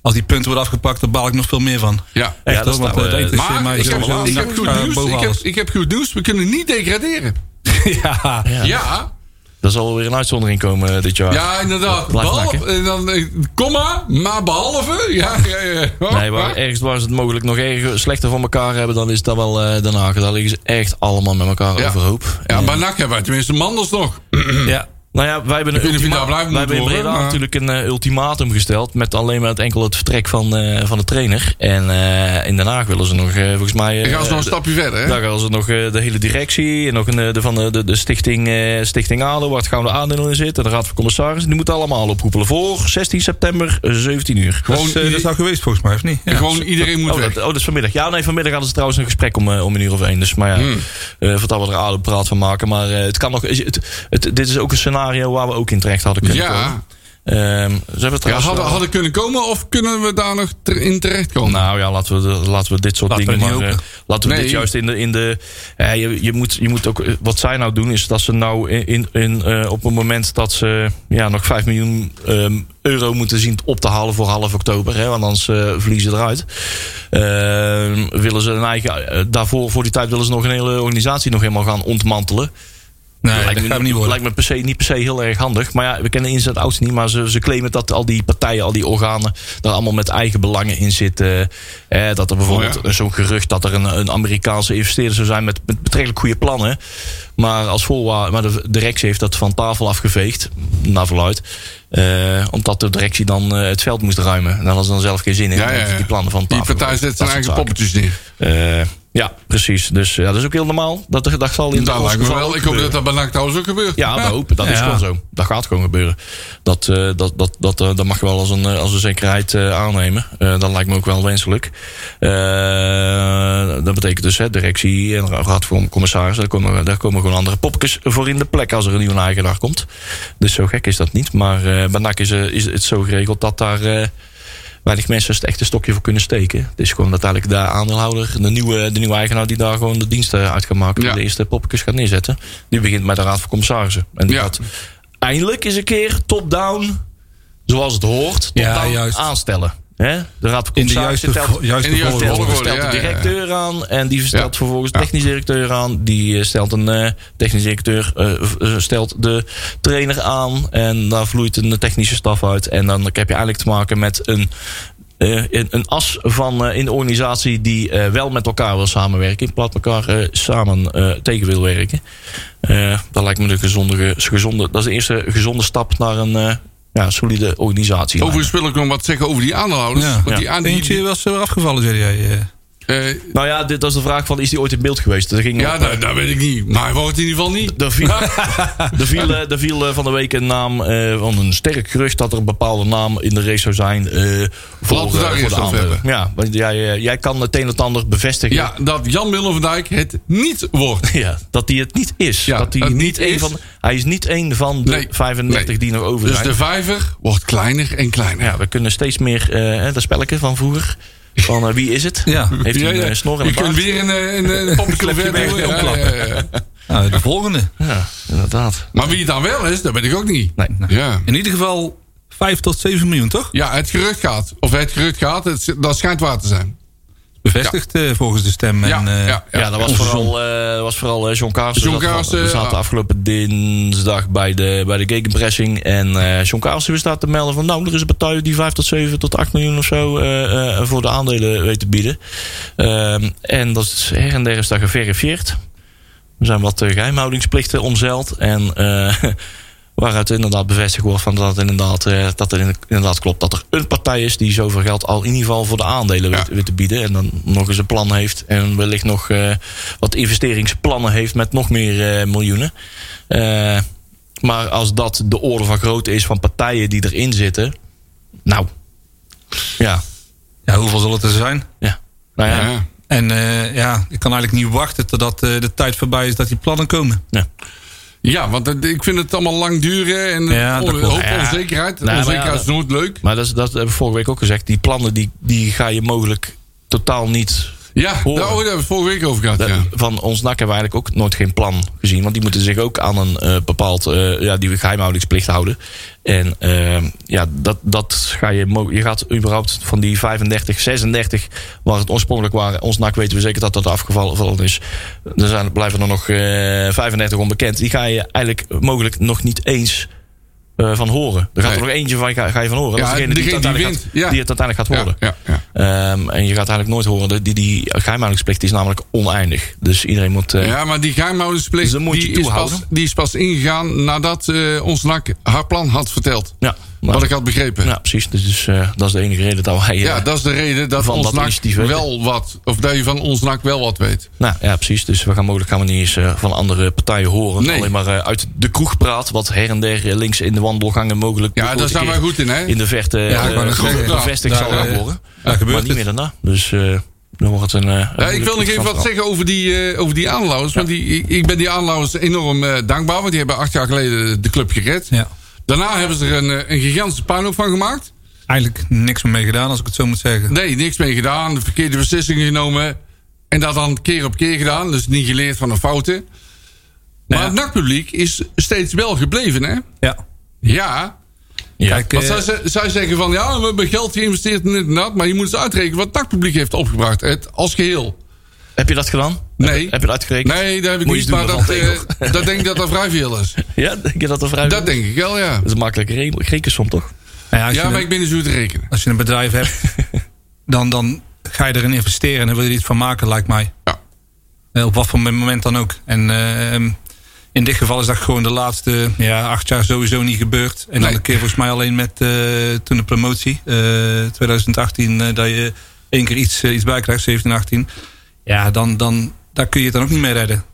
S7: als die punten worden afgepakt, daar baal ik nog veel meer van.
S3: ja.
S6: Ja,
S7: Echt,
S6: dat
S7: hoor, want,
S6: nou,
S7: eh,
S6: eh,
S7: dat
S3: Maar
S7: interesseert mij
S3: ik heb,
S7: sowieso
S3: ik heb
S7: niks,
S3: goed
S7: eh,
S3: nieuws.
S7: boven
S3: Ik heb,
S7: alles.
S3: ik heb goed nieuws. We kunnen niet degraderen.
S7: ja.
S3: Ja,
S6: dat zal weer een uitzondering komen eh, dit jaar.
S3: ja inderdaad.
S6: Blijf
S3: Behalve, en dan, eh, komma, maar behalve. Ja, ja, ja. Oh,
S6: Nee, eh, waar,
S3: ah.
S6: ergens waar ze het mogelijk nog erger, slechter voor elkaar hebben, dan is dat wel eh Den Haag. Daar liggen ze echt allemaal met elkaar
S3: Ja.
S6: overhoop.
S3: Ja, maar NAC hebben wij tenminste Manders nog.
S7: Ja,
S6: Nou ja, wij hebben, een
S3: Ik weet niet of je
S6: ultima-
S3: daar blij moet
S6: wij hebben in
S3: worden,
S6: Breda
S3: maar-
S6: natuurlijk een eh, ultimatum gesteld. Met alleen maar het enkel het vertrek van, eh, van de trainer. En eh, in Den Haag willen ze nog, eh, volgens mij... eh,
S3: Ik ga eens nog een
S6: de-
S3: stapje verder. Hè?
S6: daar gaan ze nog eh, de hele directie en nog een, eh, de, van de, de, de stichting, eh, stichting ADO, waar het gouden aandeel in zit. En de Raad van Commissarissen. Die moeten allemaal oproepelen voor 16 september, eh, 17 uur.
S7: Dat
S3: Gewoon
S7: is, eh, dat is nou geweest volgens mij, of niet?
S3: En Gewoon iedereen moet
S6: oh,
S3: weg.
S6: dat, oh, dat is vanmiddag. Ja, nee, vanmiddag hadden ze trouwens een gesprek om, eh, om een uur of één. Dus, maar ja,
S3: Hmm.
S6: eh, voordat we er aardig praat van maken. Maar eh, het kan nog, het, het- dit is ook een scenario waar we ook in terecht hadden kunnen
S3: Ja.
S6: komen. Ehm, ze hebben het
S3: Ja,
S6: trouwens eh,
S3: hadden,
S6: wel-
S3: hadden kunnen komen of kunnen we daar nog ter- in terechtkomen?
S6: Nou ja, laten we, de- laten we dit soort
S7: Laten we
S6: dingen
S7: niet
S6: maar, eh,
S7: hopen.
S6: laten we
S3: Nee.
S6: dit juist in de. In de eh, je, je, moet, je moet ook. eh, Wat zij nou doen is dat ze nou in, in, in, eh, op het moment dat ze ja, nog 5 miljoen ehm, euro moeten zien op te halen voor half oktober. Hè, want anders eh, verliezen ze eruit. Ehm, willen ze een eigen. eh, daarvoor, voor die tijd willen ze nog een hele organisatie nog helemaal gaan ontmantelen.
S7: Nee,
S6: lijkt,
S7: dat
S6: me,
S7: gaat niet worden.
S6: lijkt me per se, niet per se heel erg handig. Maar ja, we kennen ins en outs niet. Maar ze, ze claimen dat al die partijen, al die organen... daar allemaal met eigen belangen in zitten. Eh, dat er bijvoorbeeld
S3: Oh ja.
S6: zo'n gerucht... dat er een, een Amerikaanse investeerder zou zijn... met, met betrekkelijk goede plannen. Maar als voorwaarde... Maar de directie heeft dat van tafel afgeveegd. Naar verluid. Eh, omdat de directie dan eh, het veld moest ruimen. En daar hadden ze dan zelf geen zin in.
S3: Ja, ja,
S6: omdat
S3: ja.
S6: Die plannen van
S3: Die
S6: tafel.
S3: partij zet
S6: Dat
S3: zijn eigen
S6: soort zaken.
S3: poppetjes neer.
S6: Eh, ja, precies. Dus ja, dat is ook heel normaal. Dat, dat zal in de
S3: Dat lijkt me
S6: geval
S3: wel. Ik
S6: ook
S3: hoop
S6: gebeuren.
S3: dat dat bij NAC trouwens ook gebeurt.
S6: *laughs* Ja, dat hopen. Dat is
S7: Ja.
S6: gewoon zo. Dat gaat gewoon gebeuren. Dat, eh, dat, dat, dat, eh, dat mag je wel als een, eh, als een zekerheid eh, aannemen. Eh, dat lijkt me ook wel wenselijk. Eh, dat betekent dus hè, directie en ra- raad van commissarissen. Daar komen, daar komen gewoon andere popjes voor in de plek als er een nieuwe eigenaar komt. Dus zo gek is dat niet. Maar eh bij NAC is, eh, is het zo geregeld dat daar... eh, Weinig mensen het echte stokje voor kunnen steken. Het is gewoon dat eigenlijk de aandeelhouder, de nieuwe, de nieuwe eigenaar, die daar gewoon de diensten uit gaat maken.
S3: Ja.
S6: Die de eerste poppetjes gaat neerzetten. Die begint met de Raad van Commissarissen. En die
S3: Ja.
S6: gaat eindelijk eens een keer top-down, zoals het hoort, top-down
S7: Ja, juist.
S6: aanstellen. Hè? De Raad van
S7: In de
S6: Commissarissen
S7: juiste,
S6: telt,
S7: vo- juiste
S3: in de juiste
S7: volgorde.
S3: volgorde.
S6: stelt
S3: ja,
S6: de
S3: ja, ja.
S6: directeur aan en die stelt
S3: Ja.
S6: vervolgens de
S3: Ja.
S6: technisch directeur aan. Die eh, stelt een eh, technisch directeur, eh, v- eh, stelt de trainer aan en daar vloeit een technische staf uit. En dan heb je eigenlijk te maken met een, eh, een, een as van eh, in de organisatie die eh, wel met elkaar wil samenwerken, in plaats van elkaar eh, samen eh, tegen wil werken. Eh, dat lijkt me de gezonde, gezonde, dat is de eerste gezonde stap naar een eh, ja, solide organisatie.
S3: Overigens wil ik nog wat zeggen over die aandeelhouders.
S7: Ja.
S3: Want die aan- die-
S7: Eentje was er afgevallen, zei jij. eh.
S3: eh,
S6: Nou ja, dit, dat is de vraag van, is die ooit in beeld geweest? Er ging
S3: ja, dat, dat weet ik niet. Maar hij wordt in ieder geval niet. *laughs*
S6: Er viel, er viel, eh, er viel eh, van de week een naam eh, van een sterk gerucht dat er een bepaalde naam in de race zou zijn. eh, voor,
S3: Laten we daar
S6: eh, voor
S3: eerst
S6: de
S3: over
S6: aandelen.
S3: hebben.
S6: Ja, want jij, eh, jij kan het een en het ander bevestigen.
S3: Ja, dat Jan Willem van Dijk het niet wordt.
S6: Ja, dat hij het niet is.
S3: Ja,
S6: dat hij
S3: dat
S6: niet
S3: niet
S6: een
S3: is.
S6: van, hij is niet één van de
S3: Nee,
S6: 35
S3: nee.
S6: die nog over
S3: Dus
S6: zijn.
S3: de vijver wordt kleiner en kleiner.
S6: ja, we kunnen steeds meer eh, hè, dat spelletje van vroeger. Van eh, wie is het?
S7: Ja.
S6: Heeft hij
S3: Ja, ja.
S6: een eh, snor en
S3: Je
S6: een
S3: kunt
S6: baard?
S3: weer een, eh,
S6: *laughs*
S3: een, een poppetje
S6: Klepje
S3: verder
S6: weg,
S3: doen. Ja,
S6: omklappen.
S3: ja, ja.
S7: Nou, de volgende.
S6: Ja, inderdaad.
S3: *laughs* Maar wie het dan wel is, dat weet ik ook niet.
S6: Nee.
S3: Ja.
S7: Nou. In ieder geval 5 tot 7 miljoen, toch?
S3: ja, het gerucht gaat. Of het gerucht gaat, het, dat schijnt waar te zijn.
S7: Bevestigd eh, volgens de stem.
S3: Ja,
S7: en, eh,
S3: ja,
S6: Ja, dat was
S7: onze
S6: vooral, eh was vooral eh, John Kaarsen.
S3: John
S6: Dat was-
S3: Kaarsen,
S6: we zaten
S3: ja.
S6: afgelopen dinsdag bij de, bij de gegenpressing. En eh, John Kaarsen wist daar te melden van... nou, er is een partij die 5 tot 7 tot 8 miljoen of zo... eh, eh, voor de aandelen weet te bieden. Ehm, en dat is her en der is daar geverifieerd. Er zijn wat eh, geheimhoudingsplichten omzeild. En eh, *laughs* waaruit inderdaad bevestigd wordt van dat, het inderdaad, eh, dat het inderdaad klopt. Dat er een partij is die zoveel geld al in ieder geval voor de aandelen weet, weet te bieden. En dan nog eens een plan heeft. En wellicht nog eh, wat investeringsplannen heeft met nog meer eh, miljoenen. Eh, maar als dat de orde van grootte is van partijen die erin zitten. Nou, ja.
S7: Ja, hoeveel zal het er zijn?
S6: ja. Nou ja.
S3: Ja.
S7: En eh, ja, ik kan eigenlijk niet wachten totdat eh, de tijd voorbij is dat die plannen komen.
S6: ja.
S3: Ja, want het- ik vind het allemaal lang duren en
S7: Ja,
S3: on-
S7: dat klopt.
S3: hoop
S6: Ja.
S3: onzekerheid.
S6: Nou, maar ja,
S3: onzekerheid is
S6: dat-
S3: nooit leuk.
S6: Maar dat, is- dat hebben we vorige week ook gezegd. Die plannen die, die ga je mogelijk totaal niet.
S3: Ja, daar
S6: horen.
S3: oh, daar hebben we het vorige week over gehad.
S6: Dat-
S3: ja.
S6: Van ons NAC hebben we eigenlijk ook nooit geen plan gezien. Want die moeten zich ook aan een eh, bepaald eh, ja, die geheimhoudingsplicht houden. En eh, ja, dat, dat ga je. mo- Je gaat überhaupt van die 35, 36, waar het oorspronkelijk waren, ons NAC weten we zeker dat dat afgevallen is. Er zijn, blijven er nog eh 35 onbekend. Die ga je eigenlijk mogelijk nog niet eens. eh, van horen. Er gaat er
S3: Nee.
S6: nog eentje van ga, ga je van horen.
S3: Ja,
S6: dat is degene die, het
S3: degene die
S6: uiteindelijk
S3: wint,
S6: gaat,
S3: ja.
S6: die het uiteindelijk gaat horen.
S3: Ja, ja, ja.
S6: Ehm, en je gaat eigenlijk nooit horen, dat die, die geheimhoudingsplicht is namelijk oneindig. Dus iedereen moet... eh,
S3: Ja, maar die
S6: Dus
S3: geheimhoudingsplicht
S6: dan moet je
S3: die is, pas,
S6: toehouden.
S3: die is pas ingegaan nadat eh, ons NAC haar plan had verteld.
S6: Ja, maar-
S3: wat ik had begrepen.
S6: Ja, precies. Dus eh, dat is de enige reden dat wij... eh,
S3: Ja, dat is de reden dat
S6: Van
S3: ons
S6: dat
S3: NAC
S6: initiatief weten.
S3: wel wat... Of dat je van ons NAC wel wat weet.
S6: Nou ja, precies. Dus we gaan mogelijk gaan we niet eens eh, van andere partijen horen.
S3: Nee.
S6: Alleen maar eh, uit de kroeg praat, wat her en der eh, links in de wandelgangen mogelijk.
S3: Ja, daar
S6: ooit een
S3: zijn
S6: keer
S3: wij goed in, hè?
S6: In de verte
S7: ik wou net zeggen, ja,
S6: bevestigd zal
S7: daar,
S6: gaan
S7: eh,
S6: worden.
S7: daar gebeurt
S6: maar niet
S7: het.
S6: meer daarna. Dus eh, dan wordt het een. eh,
S3: Ja, ik wil nog even wat zeggen over die, eh, over die aanlouwers. Want die, ik, ik ben die aanlouwers enorm eh, dankbaar. Want die hebben acht jaar geleden de club gered.
S7: Ja.
S3: Daarna hebben ze er een, eh, een gigantische puinhoop van gemaakt.
S7: Eigenlijk niks meer mee gedaan, als ik het zo moet zeggen.
S3: Nee, niks mee gedaan. De verkeerde beslissingen genomen. En dat dan keer op keer gedaan. Dus niet geleerd van de fouten. Maar het NAC-publiek is steeds wel gebleven, hè?
S7: Ja. Nou
S3: Ja.
S6: Ja.
S7: Kijk,
S3: Want
S7: eh,
S3: zij, ze- zij zeggen van... Ja, we hebben geld geïnvesteerd in dit en dat. Maar je moet eens uitrekenen wat het NAC-publiek heeft opgebracht. Het, als geheel.
S6: Heb je dat gedaan?
S3: Nee.
S6: Heb, heb je dat uitgerekend?
S3: Nee, daar heb ik
S6: Moet je
S3: niet.
S6: doen,
S3: Maar
S6: dat
S3: dat,
S6: valt tegen.
S3: eh, dat denk ik dat dat vrij veel
S6: *laughs*
S3: is.
S6: Ja, denk je dat er vrij
S3: Dat
S6: dat
S3: denk ik wel, ja.
S6: is een makkelijke re- rekensom, toch?
S7: nou ja, als,
S3: Ja,
S7: je
S3: maar
S7: een,
S3: ik ben dus niet zo goed te rekenen.
S7: als je een bedrijf
S3: *laughs*
S7: hebt, dan, dan ga je erin investeren en dan wil je er iets van maken, lijkt mij.
S3: Ja.
S7: Eh, Op wat voor moment dan ook. En eh, ehm, in dit geval is dat gewoon de laatste ja, acht jaar sowieso niet gebeurd. En dan
S3: Nee.
S7: een keer volgens mij alleen met eh, toen de promotie, eh, 2018, eh, dat je één keer iets, eh, iets bij krijgt, 17, 18. Ja, dan, dan daar kun je het dan ook niet mee redden.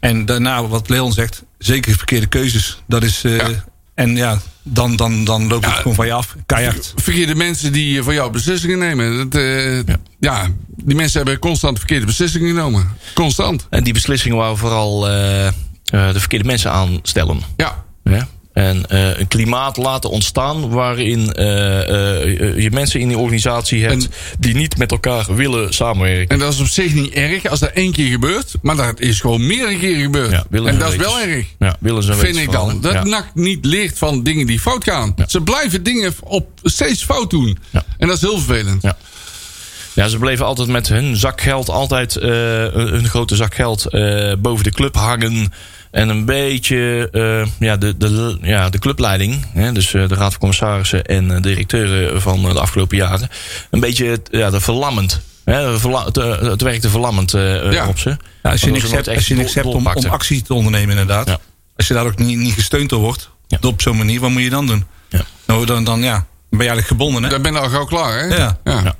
S7: En daarna, wat Leon zegt, zeker verkeerde keuzes. Dat is, eh,
S3: Ja.
S7: En ja, dan, dan, dan loopt
S3: Ja.
S7: het gewoon van je af. Keihard.
S3: Verkeerde mensen die eh, voor jou beslissingen nemen. Dat, eh, ja. die mensen hebben constant verkeerde beslissingen genomen. Constant.
S6: En die beslissingen waar vooral eh, eh, de verkeerde mensen aan stellen.
S3: Ja.
S6: Ja. En eh, een klimaat laten ontstaan waarin eh, eh, eh, je mensen in die organisatie hebt die niet met elkaar willen samenwerken.
S3: En dat is op zich niet erg als dat één keer gebeurt. Maar dat is gewoon meerdere keren gebeurd.
S6: Ja, willens
S3: en dat is
S6: wetens.
S3: wel erg.
S6: Ja, willen ze
S3: Vind ik dan. Dat
S6: ja.
S3: NAC niet leert van dingen die fout gaan. Ze blijven dingen op steeds fout doen.
S6: Ja.
S3: En dat is heel vervelend.
S6: Ja. Ja, ze bleven altijd met hun zak geld, altijd eh, een een grote zak geld eh, boven de club hangen. En een beetje eh, ja, de, de, ja, de clubleiding, hè, dus eh, de raad van commissarissen en eh, directeuren van eh, de afgelopen jaren, een beetje ja, de verlammend. Hè, verla- het, eh, het werkte verlammend eh, eh,
S3: Ja.
S6: op ze.
S7: Ja, als je
S6: Waardoor
S7: niks
S6: ze nooit
S7: hebt,
S6: echt
S7: als je niks
S6: dol-
S7: hebt om, om
S6: dolpakten.
S7: actie te ondernemen, inderdaad.
S6: Ja.
S7: Als je daar ook niet, niet gesteund door wordt,
S6: Ja.
S7: op zo'n manier, wat moet je dan doen?
S6: Ja.
S7: Nou, dan, dan, ja, dan ben je eigenlijk gebonden, hè?
S3: Dan ben je al gauw klaar, hè?
S7: Ja.
S6: Ja.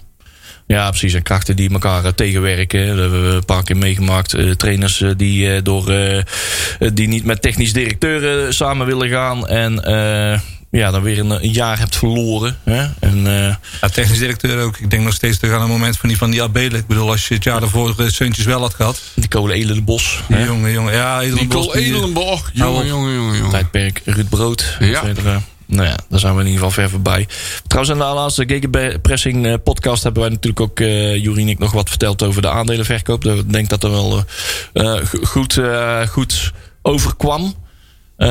S6: Ja, precies. En krachten die elkaar eh, tegenwerken. Dat hebben we een paar keer meegemaakt. Eh, trainers eh, die, eh, door, eh, eh, die niet met technisch directeuren samen willen gaan. En eh, ja, dan weer een, een jaar hebt verloren. Hè? En, eh,
S7: Ja, technisch directeur ook. Ik denk nog steeds terug aan het moment van die van die Abelen. Ik bedoel, als je het jaar daarvoor eh, Seuntjes wel had gehad.
S6: die kolen Elen de Bos.
S7: Die
S6: hè.
S7: jongen, jongen. Ja, Edelenbos,
S3: Die Col
S7: die, eh,
S3: Edelenborg.
S7: hou
S3: Jongen,
S7: op.
S3: jongen, jongen, jongen.
S6: Tijdperk Ruud Brood.
S3: Ja.
S6: et cetera. Nou ja, daar zijn we in ieder geval ver voorbij. Trouwens, in de laatste Gegenpressing eh, podcast hebben wij natuurlijk ook, eh Juri en ik, nog wat verteld over de aandelenverkoop. Dat- Ik denk dat er wel eh, eh, go- goed, eh, goed overkwam. Eh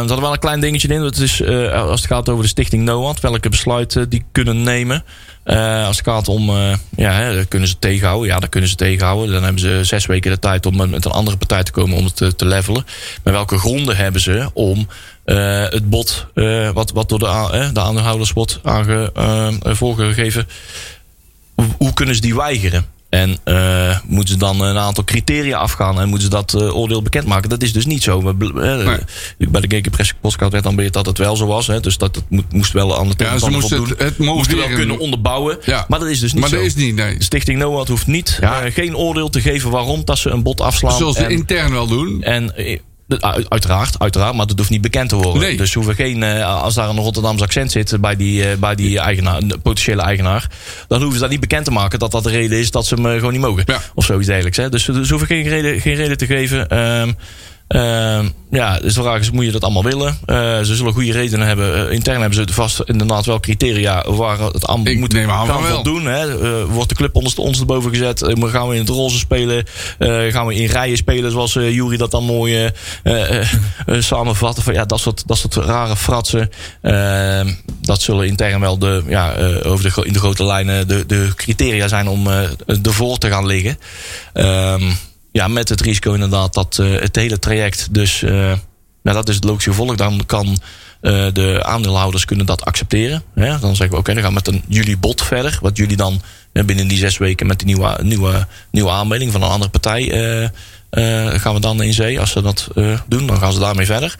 S6: er zat wel een klein dingetje in. Dat is eh, als het gaat over de stichting NOAD. Welke besluiten die kunnen nemen. Eh, als het gaat om... eh, ja, hè, dat kunnen ze tegenhouden? Ja, dat kunnen ze tegenhouden. Dan hebben ze zes weken de tijd om met een andere partij te komen om het eh, te levelen. Maar welke gronden hebben ze om eh, het bod... eh, wat, wat door de, a- eh, de aandeelhouders wordt aange, eh, eh, voorgegeven hoe- hoe kunnen ze die weigeren? En eh, moeten ze dan een aantal criteria afgaan en moeten ze dat eh, oordeel bekendmaken? Dat is dus niet zo. We bl- eh, Bij de Geke Press podcast werd dan weer dat het wel zo was. Hè? Dus dat het moet- moest wel aan de
S3: Ja, ze
S6: tegenstander
S3: moesten
S6: voldoen.
S3: het, het mogen
S6: moesten wel
S3: weer
S6: kunnen
S3: een-
S6: onderbouwen.
S3: Ja.
S6: Maar dat is dus niet
S3: Maar
S6: zo.
S3: dat is niet, nee.
S6: De Stichting NOAD hoeft niet
S3: Ja.
S6: eh, geen oordeel te geven waarom dat ze een bod afslaan.
S3: Zoals ze
S6: en-
S3: intern wel doen.
S6: en eh, dat- uit- uiteraard, uiteraard, maar dat hoeft niet bekend te worden.
S3: Nee.
S6: Dus ze hoeven geen, eh, als daar een Rotterdamse accent zit bij die, eh, bij die eigenaar, de potentiële eigenaar, dan hoeven ze dat niet bekend te maken dat dat de reden is dat ze hem eh, gewoon niet mogen.
S3: Ja.
S6: Of zoiets dergelijks. Hè. Dus ze ze hoeven geen reden, geen reden te geven. Ehm, ehm, ja, dus de vraag is, moet je dat allemaal willen? Eh, ze zullen goede redenen hebben. Eh, intern hebben ze vast inderdaad wel criteria waar het aan
S3: Ik
S6: moet
S3: neem aan
S6: gaan
S3: van wel.
S6: voldoen. Hè? Eh, wordt de club onderste, ondersteboven gezet? Eh, maar gaan we in het roze spelen? Eh, gaan we in rijen spelen, zoals eh Jury dat dan mooi eh, eh, eh, eh, samenvatte? Van, ja, dat, soort, dat soort rare fratsen. Ehm, dat zullen intern wel de, ja, eh, over de, gro- in de grote lijnen de, de criteria zijn om eh, ervoor te gaan liggen. Ehm, ja, met het risico inderdaad dat eh, het hele traject dus... eh, nou, dat is het logische gevolg. Dan kan Eh, de aandeelhouders kunnen dat accepteren. Hè? Dan zeggen we, oké, dan gaan we met een jullie bod verder. Wat jullie dan eh, binnen die zes weken met die nieuwe, nieuwe, nieuwe aanmelding van een andere partij... eh, eh, gaan we dan in zee. Als ze dat eh, doen, dan gaan ze daarmee verder.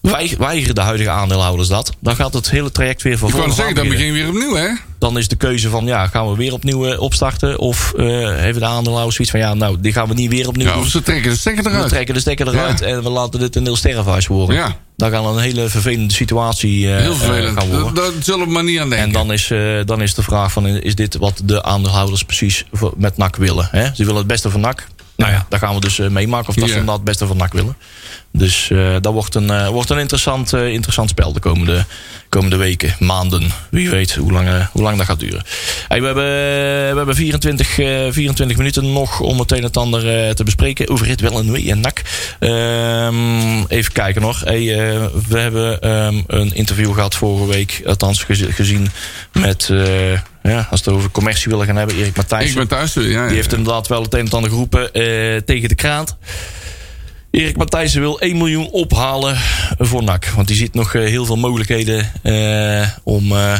S6: Wij, weigeren de huidige aandeelhouders dat... dan gaat het hele traject weer van
S3: Ik
S6: voren
S3: wou
S6: af
S3: zeggen, dan
S6: beginnen
S3: begin je weer opnieuw, hè?
S6: dan is de keuze van ja, gaan we weer opnieuw eh, opstarten? Of eh hebben de aandeelhouders zoiets van ja, nou, die gaan we niet weer opnieuw
S3: Ja,
S6: doen.
S3: of ze trekken de stekker
S6: We
S3: eruit.
S6: trekken de stekker eruit
S3: Ja.
S6: en we laten dit een heel sterrenhuis worden.
S3: Ja.
S6: Dan gaan we een hele vervelende situatie eh,
S3: Heel
S6: eh,
S3: vervelend.
S6: gaan
S3: Dat-
S6: worden.
S3: Daar zullen we maar niet aan denken.
S6: En dan is, eh, dan is de vraag van is dit wat de aandeelhouders precies voor- met NAC willen? Hè? Ze willen het beste van NAC. Nou ja, daar gaan we dus eh, meemaken of dat
S3: Ja.
S6: ze dat het beste van NAC willen. Dus eh, dat wordt een, eh, wordt een interessant, eh, interessant spel de komende, komende weken, maanden. Wie weet hoe lang, eh, hoe lang dat gaat duren. Hey, we hebben, we hebben 24, eh, 24 minuten nog om het een en het ander eh, te bespreken. Over het wel en wee en NAC. Ehm, even kijken nog. Hey, eh, we hebben ehm, een interview gehad vorige week. Althans gez- gezien met... eh, ja, als we het over commercie willen gaan hebben, Erik Matthijs.
S3: ik ben thuis. Ja, ja.
S6: Die heeft inderdaad wel het een en het ander geroepen eh, tegen de kraant. Erik Matthijssen wil 1 miljoen ophalen voor NAC. Want die ziet nog eh, heel veel mogelijkheden eh, om, eh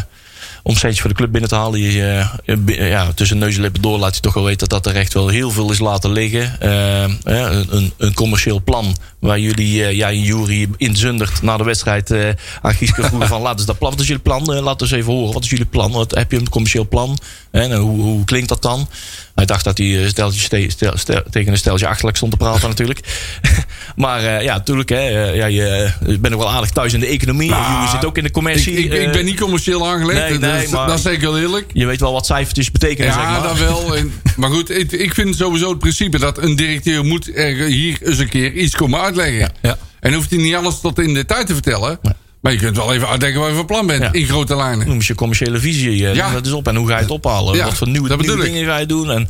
S6: om steeds voor de club binnen te halen. Die, eh, bi- eh, ja, tussen neus en lippen door laat hij toch wel weten dat dat er echt wel heel veel is laten liggen. Eh, eh, een, een, een commercieel plan waar jullie, eh, jij en Jury, inzundert na de wedstrijd eh, aan Gieske vroegen van *laughs* laten ze dat plan. Wat is jullie plan? Eh, laat eens even horen. Wat is jullie plan? Wat, heb je een commercieel plan? En eh, hoe, hoe klinkt dat dan? Hij dacht dat hij eh, steltje, ste- stel- stel- tegen een steltje achterlijk stond te praten natuurlijk. *laughs* maar eh, ja, natuurlijk. Hè, eh, ja, je eh, bent ook wel aardig thuis in de economie.
S3: Nou,
S6: Jullie zitten ook in de
S3: Ik,
S6: commercie.
S3: ik, ik
S6: eh,
S3: ben niet commercieel aangelegd.
S6: Nee,
S3: dat,
S6: nee,
S3: is-
S6: maar-
S3: dat zeg ik heel eerlijk.
S6: je weet wel wat cijfertjes betekenen,
S3: Ja,
S6: zeg maar.
S3: dat wel. En- maar goed, ik, ik vind sowieso het principe dat een directeur moet er hier eens een keer iets komen uitleggen.
S6: Ja.
S3: En hoeft hij niet alles tot in detail te vertellen. Maar je kunt wel even uitdenken waar je van plan bent,
S6: Ja. Mm.
S3: in grote lijnen.
S6: Noem eens je commerciële visie. eh,
S3: Ja.
S6: noem Dat is op. En hoe ga je het ophalen?
S3: Ja,
S6: wat voor nieuwe,
S3: dat bedoel
S6: nieuwe
S3: ik.
S6: dingen ga je doen? En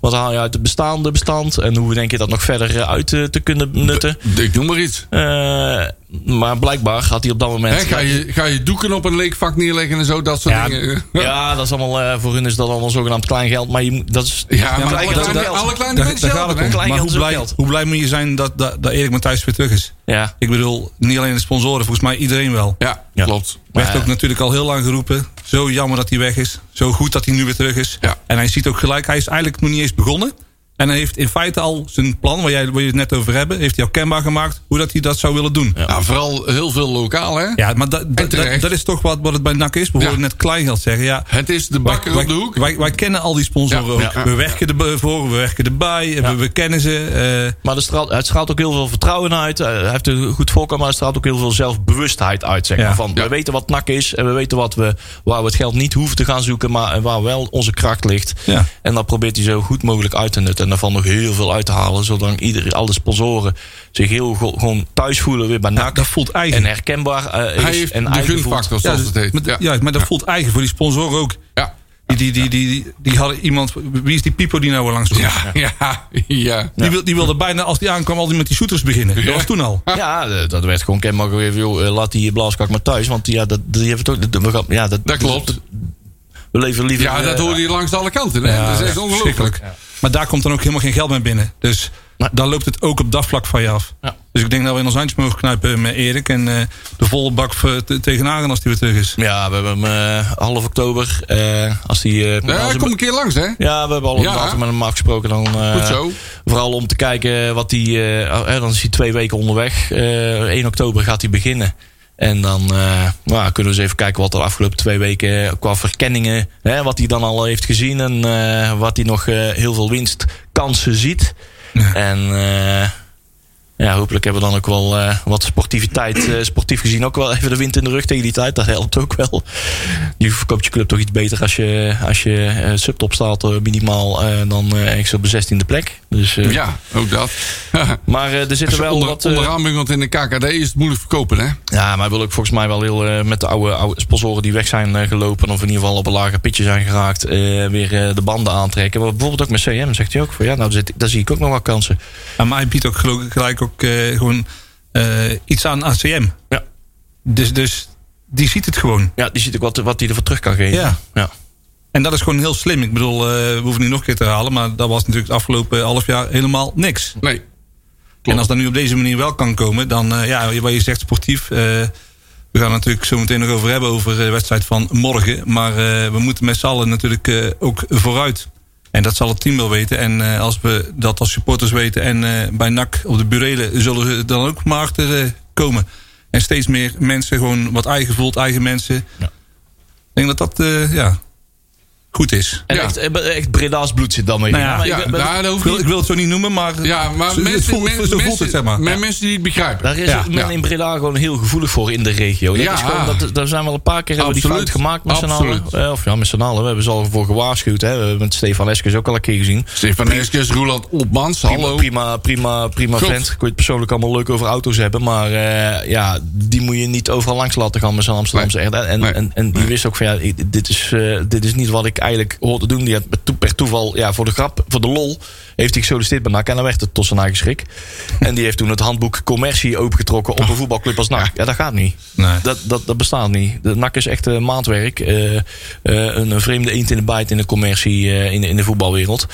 S6: wat haal je uit het bestaande bestand? En hoe denk je dat nog verder eh, uit eh, te kunnen nutten?
S3: Ik noem maar iets.
S6: Eh, maar blijkbaar had hij op dat moment.
S3: Hè, ga, je, ga je doeken op een leekvak neerleggen en zo, dat soort *laughs*
S7: Ja,
S3: dingen.
S6: Ja, dat is allemaal, eh, voor hun is dat allemaal zogenaamd klein geld. Maar je, moet- dat is.
S3: Ja, maar
S6: klein
S3: alle,
S6: geld is ook
S3: kleine- alle
S6: geld.
S3: kleine
S7: Daar,
S3: mensen
S7: daar gaat
S3: helpen,
S7: het
S3: hè?
S6: hè?
S7: om.
S6: Klein
S7: Maar
S6: geld
S7: hoe
S6: is ook
S7: blij,
S6: geld.
S7: hoe blij moet je zijn dat, dat, dat Erik Matthijs weer terug is?
S6: Ja.
S7: Ik bedoel, niet alleen de sponsoren, volgens mij iedereen wel.
S3: Ja,
S6: Ja.
S3: klopt.
S7: Werd ook natuurlijk al heel lang geroepen. Zo jammer dat hij weg is. Zo goed dat hij nu weer terug is.
S3: Ja.
S7: En hij ziet ook gelijk, hij is eigenlijk nog niet eens begonnen. En hij heeft in feite al zijn plan, waar, jij, waar je het net over hebben, heeft hij al kenbaar gemaakt hoe dat hij dat zou willen doen. Ja,
S3: Nou, vooral heel veel lokaal, hè?
S7: maar dat- dat-
S3: terecht.
S7: dat, dat is toch wat, wat het bij NAC is. We
S3: Ja.
S7: hoorden net Kleingeld zeggen. Ja,
S3: Het is de bakker
S7: wij,
S3: op de hoek.
S7: Wij, wij kennen al die sponsoren
S3: Ja,
S7: ook.
S3: ja, ja.
S7: we werken ervoor, voor, we werken erbij. We, we kennen ze. eh,
S6: Maar er straalt, het straalt ook heel veel vertrouwen uit. Eh, Hij heeft een goed voorkomen, maar het straalt ook heel veel zelfbewustheid uit. Zeg maar.
S7: Ja.
S6: Van,
S3: Ja.
S6: We weten wat nak is en we weten wat we, waar we het geld niet hoeven te gaan zoeken, maar eh, waar wel onze kracht ligt.
S7: Ja.
S6: En dat probeert hij zo goed mogelijk uit te nutten. En daarvan nog heel veel uit te halen, zodat ieder, alle sponsoren zich heel go- gewoon thuis voelen weer bij NAC.
S7: dat voelt eigen.
S6: En herkenbaar eh, is.
S3: Hij heeft
S6: en
S3: de
S6: eigen voelt.
S3: gunfactor,
S7: Ja,
S3: zoals
S7: dus-
S3: het heet.
S7: maar,
S3: Ja.
S7: juist, maar dat voelt eigen voor die sponsoren ook.
S3: Ja.
S7: Die, die, die, die, die, die hadden iemand. Wie is die Pipo die nou weer langs komt?
S3: Ja, ja, ja.
S7: Die, wil, die wilde bijna, als die aankwam, al die met die shooters beginnen. Dat was toen al.
S6: *laughs* Ja, eh, dat werd gewoon kenbaar gegeven. Joh, eh, laat die blaaskak maar thuis. Want ja, dat, die hebben toch. dat- we gaan- ja,
S3: Dat klopt.
S6: We leven liever.
S3: Ja, dat
S6: eh,
S3: hoor je langs alle kanten. Hè? dat is echt ongelooflijk.
S7: verschrikkelijk. Maar daar komt dan ook helemaal geen geld meer binnen. Dus
S6: Nee.
S7: daar loopt het ook op dat vlak van je af.
S6: Ja.
S7: Dus ik denk dat we in ons handje mogen knijpen met Erik. En eh, de volle bak voor- te- tegenaan gaan als die weer terug is.
S6: Ja, we hebben hem eh, half oktober. eh, als die, eh,
S3: Ja,
S6: als
S3: hij
S6: hem-
S3: komt een keer langs, hè?
S6: ja, we hebben al een
S3: Ja.
S6: datum met hem afgesproken. Dan, eh,
S3: Goed zo.
S6: Vooral om te kijken wat hij... eh, eh, dan is hij twee weken onderweg. Eh, 1 oktober gaat hij beginnen. En dan eh, nou, kunnen we eens even kijken wat er de afgelopen twee weken eh, qua verkenningen... Hè, wat hij dan al heeft gezien en eh, wat hij nog eh, heel veel winstkansen ziet. En eh, ja, hopelijk hebben we dan ook wel eh, wat sportiviteit, eh, sportief gezien, ook wel even de wind in de rug tegen die tijd. Dat helpt ook wel. Je verkoopt je club toch iets beter als je, als je eh, subtop staat eh, minimaal eh, dan eh, ergens op de 16e plek. Dus, eh,
S3: Ja, ook dat.
S6: Maar eh, er
S3: Als
S6: zitten
S3: je
S6: wel
S3: onder,
S6: wat... eh,
S3: onderaan bungelt in de KKD is het moeilijk verkopen, hè?
S6: ja, maar wil ik volgens mij wel heel eh, met de oude, oude sponsoren die weg zijn eh, gelopen... of in ieder geval op een lager pitje zijn geraakt, eh, weer eh, de banden aantrekken. Maar bijvoorbeeld ook met CM zegt hij ook van... ja, nou, daar, zit- daar zie ik ook nog wel kansen.
S7: En mij biedt ook geloof ik gelijk ook eh, gewoon eh, iets aan ACM.
S6: Ja.
S7: Dus, dus die ziet het gewoon.
S6: Ja, die ziet ook wat, wat hij ervoor terug kan geven.
S7: Ja.
S6: ja.
S7: En dat is gewoon heel slim. Ik bedoel, eh, we hoeven niet nog een keer te herhalen. Maar dat was natuurlijk het afgelopen half jaar helemaal niks.
S3: Nee.
S7: En als dat nu op deze manier wel kan komen, dan eh, ja, wat je zegt sportief. eh, We gaan het natuurlijk zo meteen nog over hebben over eh, de wedstrijd van morgen. Maar eh, we moeten met z'n allen natuurlijk eh, ook vooruit. En dat zal het team wel weten. En eh, als we dat als supporters weten en eh, bij NAC op de burelen... zullen ze dan ook maar achter eh, komen. En steeds meer mensen, gewoon wat eigen voelt, eigen mensen.
S6: Ja.
S7: Ik denk dat dat eh, ja, goed is.
S6: En
S3: Ja.
S6: echt, eh, echt Breda's bloed zit dan mee.
S7: Nou ja,
S6: maar ik-
S3: Ja,
S6: maar-
S3: daar
S7: Ik
S3: hoeft
S7: wil, ik
S3: niet...
S7: wil het zo niet noemen, maar,
S3: Ja, maar
S7: zo,
S3: mensen,
S7: voelt,
S3: mensen,
S7: zo voelt
S3: mensen-
S7: het, zeg maar.
S3: maar
S7: Ja.
S3: mensen die het begrijpen.
S6: Daar is
S7: Ja.
S6: men
S3: Ja.
S6: in Breda gewoon heel gevoelig voor in de regio. Dat
S3: Ja. ah.
S6: is gewoon, dat, daar zijn wel een paar keer hebben we die
S3: Absoluut.
S6: fout gemaakt met z'n allen.
S3: Absoluut.
S6: Eh, of ja, met z'n allen. We hebben ze al voor gewaarschuwd. Hè. We hebben met Stefan Eskes ook al een keer gezien.
S3: Stefan Eskes, Roland Opmans,
S6: Prima,
S3: hallo.
S6: prima, prima, prima
S3: Klopt.
S6: vent. Ik weet persoonlijk allemaal leuk over auto's hebben. Maar eh, ja, die moet je niet overal langs laten gaan met zijn Amsterdamse.
S3: Nee.
S6: echt. En,
S3: Nee.
S6: en, en die wist ook van ja, ik- dit is, eh, dit is niet wat ik eigenlijk hoorde doen. Die had to- per toeval, ja, voor de grap, voor de lol, heeft hij gesolliciteerd bij NAC. En dan werd het tot zijn eigen schrik. en die heeft toen het handboek commercie opengetrokken
S3: Ah.
S6: op een voetbalclub als NAC. Ja, dat gaat niet.
S7: Nee.
S6: Dat, dat, dat bestaat niet. De NAC is echt eh, maatwerk. Eh, eh, een, een vreemde eend in de bijt in de commercie, eh, in, de- in de voetbalwereld.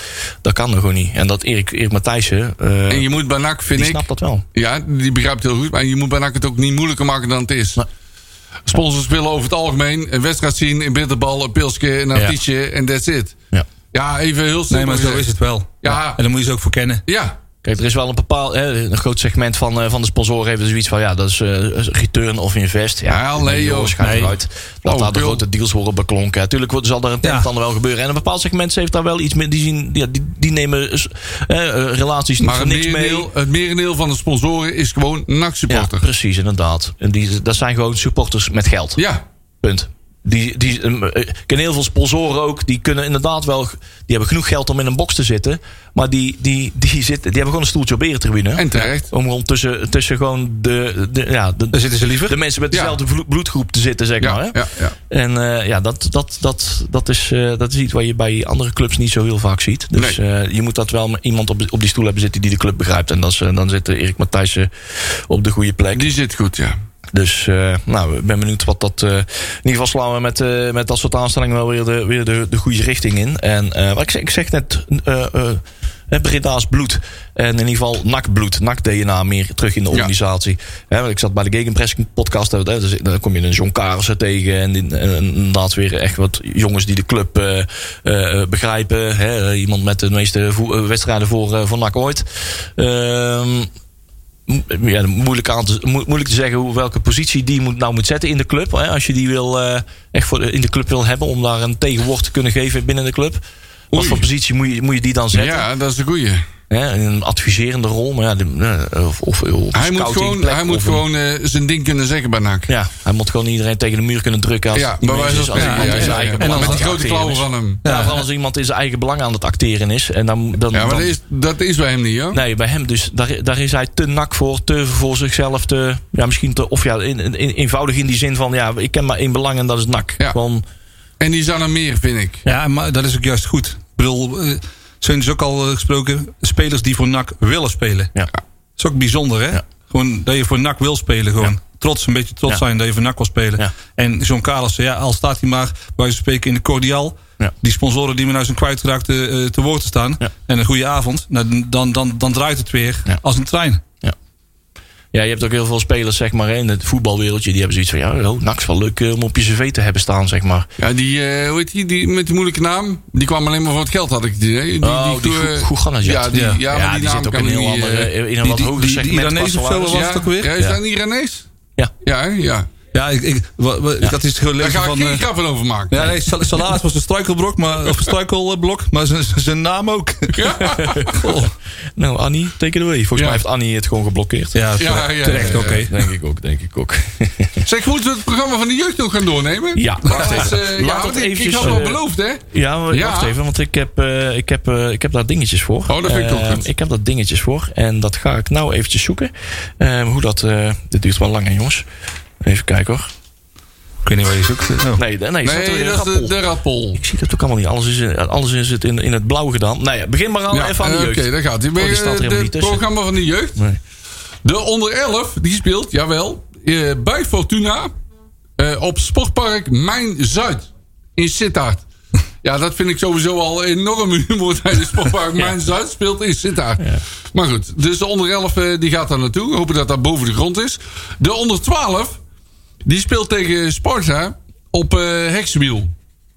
S6: Dat kan er gewoon niet. En dat Erik, Erik Matthijssen, eh,
S3: En je moet bij NAC, vind
S6: die
S3: ik...
S6: snapt dat wel.
S3: Ja, die begrijpt heel goed. Maar je moet bij NAC het ook niet moeilijker maken dan het is.
S6: Maar-
S3: Sponsors willen over het algemeen een wedstrijd zien... een bitterbal, een pilsje, een
S6: Ja.
S3: artiestje en that's it.
S6: Ja.
S3: Ja, even heel simpel
S7: Nee, maar zo
S3: gezegd.
S7: is het wel.
S3: Ja.
S7: En daar moet je ze ook voor kennen.
S3: Ja,
S6: Kijk, er is wel een bepaald, hè, een groot segment van, eh, van de sponsoren heeft zoiets van, ja, dat is eh, return of invest. Ja,
S3: Ja, nee, joh.
S6: jongens, ga
S3: Nee.
S6: eruit. Laat
S3: Oh,
S6: daar de
S3: joh.
S6: grote deals worden beklonken. Natuurlijk wordt- zal daar een
S7: Ja.
S6: tent wel gebeuren. En een bepaald segment heeft daar wel iets mee. Die, zien, ja, die, die nemen eh, eh, relaties niet
S3: maar
S6: voor
S3: het
S6: niks mee.
S3: merendeel, het merendeel van de sponsoren is gewoon NAC-supporter.
S6: Ja, precies, inderdaad. En die, dat zijn gewoon supporters met geld.
S3: Ja,
S6: Punt. Die, die, ehm, eh, ik ken heel veel sponsoren ook. Die kunnen inderdaad wel. Die hebben genoeg geld om in een box te zitten. Maar die, die, die, zitten, die hebben gewoon een stoeltje op eretribune.
S3: en terecht.
S6: om gewoon tussen, tussen gewoon de, de, ja, de,
S7: Daar zitten ze liever.
S6: de mensen met
S3: Ja.
S6: dezelfde vlo- bloedgroep te zitten, zeg
S3: Ja,
S6: maar. Hè?
S3: ja, ja.
S6: En eh, ja, dat, dat, dat, dat, is, eh, dat is iets wat je bij andere clubs niet zo heel vaak ziet. Dus eh, je moet dat wel met iemand op, op die stoel hebben zitten die de club begrijpt. En dat is, eh, dan zit eh, Erik Matthijssen op de goede plek.
S3: Die zit goed, ja.
S6: Dus eh, nou, ik ben benieuwd wat dat. eh, in ieder geval slaan we met, eh, met dat soort aanstellingen wel weer de, weer de, de goede richting in. En eh, wat ik, zeg- ik zeg net. eh eh, hè, Breda's bloed. En in ieder geval nakbloed, nak-DNA meer terug in de organisatie. Hè, want ik zat bij de Gegenpressing podcast. hè, dus dan kom je een John Karelsen tegen. En, die- en inderdaad weer echt wat jongens die de club eh, eh, eh, begrijpen. Hè, iemand met de meeste vo- eh, wedstrijden voor, eh, voor NAC ooit. Ehm mo- ja, moeilijk, aan te, mo- moeilijk te zeggen hoe, welke positie die moet, nou moet zetten in de club. Hè, als je die wil, eh, echt voor de- in de club wil hebben om daar een tegenwoord te kunnen geven binnen de club. Wat
S3: Oei.
S6: voor positie moet je, moet je die dan zetten?
S3: Ja, dat is de goeie.
S6: Hè, in een adviserende rol. Maar ja, de- eh, of, of, of een
S3: Hij moet
S6: scoutingplek
S3: gewoon, hij moet
S6: of een-
S3: gewoon eh, zijn ding kunnen zeggen bij NAC.
S6: Ja, hij moet gewoon iedereen tegen de muur kunnen drukken. Als
S3: Ja,
S6: die
S3: bij
S6: mens
S3: wijze van
S6: is, als
S3: spreken.
S6: iemand
S3: Ja,
S6: in
S3: ja,
S6: zijn
S3: ja,
S6: eigen
S3: ja.
S6: belang
S3: Met
S6: aan
S3: die
S6: het
S3: grote
S6: acteren
S3: klauwen van
S6: is.
S3: hem.
S6: Ja, vooral als iemand in zijn eigen belang aan het acteren is. En dan, dan,
S3: Ja, maar
S6: dan-
S3: dat is, dat is bij hem niet, hoor.
S6: Nee, bij hem dus. Daar, daar is hij te nak voor, te voor zichzelf, te... Ja, misschien te... Of ja, in, in- in- eenvoudig in die zin van... Ja, ik ken maar één belang en dat is nak.
S3: Ja.
S6: Gewoon,
S3: En die zijn er meer, vind ik.
S7: Ja, maar dat is ook juist goed. Ik bedoel, eh, Seuntje is ook al eh, gesproken. Spelers die voor NAC willen spelen.
S6: ja.
S7: Dat is ook bijzonder, hè?
S6: Ja.
S7: Gewoon dat je voor NAC wil spelen. Gewoon trots, een beetje trots
S6: Ja.
S7: zijn dat je voor NAC wil spelen.
S6: Ja.
S7: En John Carlos, ja, al staat hij maar, bij wijze van spreken, in de cordiaal.
S6: Ja.
S7: Die sponsoren die me nou zijn kwijtgeraakt eh, eh, te woord te staan.
S6: Ja.
S7: En een goede avond. Nou, dan, dan, dan draait het weer
S6: Ja.
S7: als een trein.
S6: Ja, je hebt ook heel veel spelers, zeg maar, in het voetbalwereldje... die hebben zoiets van... Ja, oh, nak is wel leuk eh, om op je cv te hebben staan, zeg maar.
S3: Ja, die, eh, hoe heet die, die met die moeilijke naam? Die kwam alleen maar voor het geld, had ik het idee. Die,
S6: Oh, die
S3: eh,
S6: Goe- Goeganajat.
S3: Ja, die, ja,
S6: Ja,
S3: maar die,
S6: die
S3: naam
S6: zit ook
S3: kan
S6: in een
S3: niet,
S6: heel andere...
S3: eh,
S6: In een wat
S7: die-
S6: hoger
S7: die- die
S6: segment.
S7: Iranese
S6: qua
S7: of zo
S6: salaris. *laughs*
S7: was- het ook weer?
S3: Ja, is dat niet René's?
S6: Ja.
S3: Ja, hè? ja.
S7: Ja, ik, ik, wa- wa- ik had iets
S3: Daar
S7: gelezen
S3: ga ik
S7: van...
S3: geen
S7: eh,
S3: grappen over maken.
S7: ja, nee, sal- salaris was een struikelblok, maar, of een struikelblok, maar zijn- zijn zijn naam ook. Goh.
S6: Nou, Annie, take it away. Volgens
S3: Ja.
S6: mij heeft Annie het gewoon geblokkeerd.
S7: Ja,
S3: Ja, ja,
S7: terecht,
S3: ja, ja.
S7: oké.
S6: Denk ik ook, denk ik ook.
S3: Zeg, moeten we het programma van de jeugd nog gaan doornemen?
S6: Ja,
S3: Laat
S6: wacht even.
S3: ja,
S6: Laat
S3: want
S6: het
S3: ik, ik
S6: eventjes,
S3: had wel
S6: eh,
S3: beloofd, hè?
S6: Ja, maar
S3: Ja.
S6: wacht even, want ik heb, eh, ik, heb, eh, ik heb daar dingetjes voor.
S3: Oh, dat vind ik ook
S6: Ehm,
S3: goed.
S6: Ik heb daar dingetjes voor en dat ga ik nou eventjes zoeken. Ehm, hoe dat, eh, dit duurt wel lang hè, jongens. Even kijken hoor.
S7: Ik weet niet waar je zoekt. Oh.
S6: Nee, nee, nee, staat er
S3: Nee,
S6: in
S3: dat is de,
S6: Rappel.
S3: de rappel.
S6: Ik zie dat ook allemaal niet. Alles is, in- alles is het in, in het blauw gedaan. Nou ja, begin maar al
S3: Ja,
S6: even aan de
S3: eh,
S6: jeugd. Oh,
S3: Oké, daar gaat hij. eh,
S6: die staat er
S3: Het
S6: helemaal niet tussen.
S3: programma van de jeugd.
S6: Nee.
S3: De onder 11, die speelt, jawel, eh, bij Fortuna eh, op Sportpark Mijn Zuid in Sittard. Ja, dat vind ik sowieso al enorm humor dat je Sportpark Mijn Zuid speelt in Sittard. Maar goed, dus de onder 11 eh, die gaat daar naartoe. We hopen dat dat boven de grond is. De onder 12, Die speelt tegen Sparta op eh Hexwiel.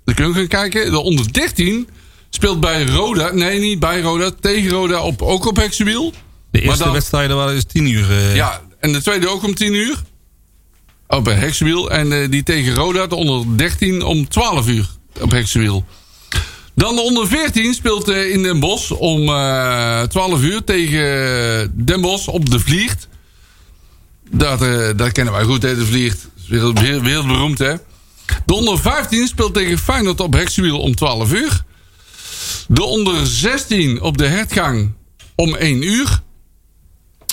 S3: Daar kun je ook gaan kijken. De onder 13 speelt bij Roda. Nee, niet bij Roda. Tegen Roda op, ook op Hexwiel.
S7: De
S3: Maar
S7: eerste
S3: dan-
S7: wedstrijden waren dus tien uur. eh,
S3: Ja, en de tweede ook om 10 uur. Op Heksenwiel. En eh, die tegen Roda de onder 13 om 12 uur op Heksenwiel. Dan de onder 14 speelt eh, in Den Bosch om eh 12 uur tegen eh, Den Bosch op de Vliert. Dat, eh, dat kennen wij goed, hè, de Vliert. Is Wereld, wereld- wereldberoemd, hè. De onder 15 speelt tegen Feyenoord op Heksenwiel om 12 uur. De onder 16 op de hertgang om 1 uur.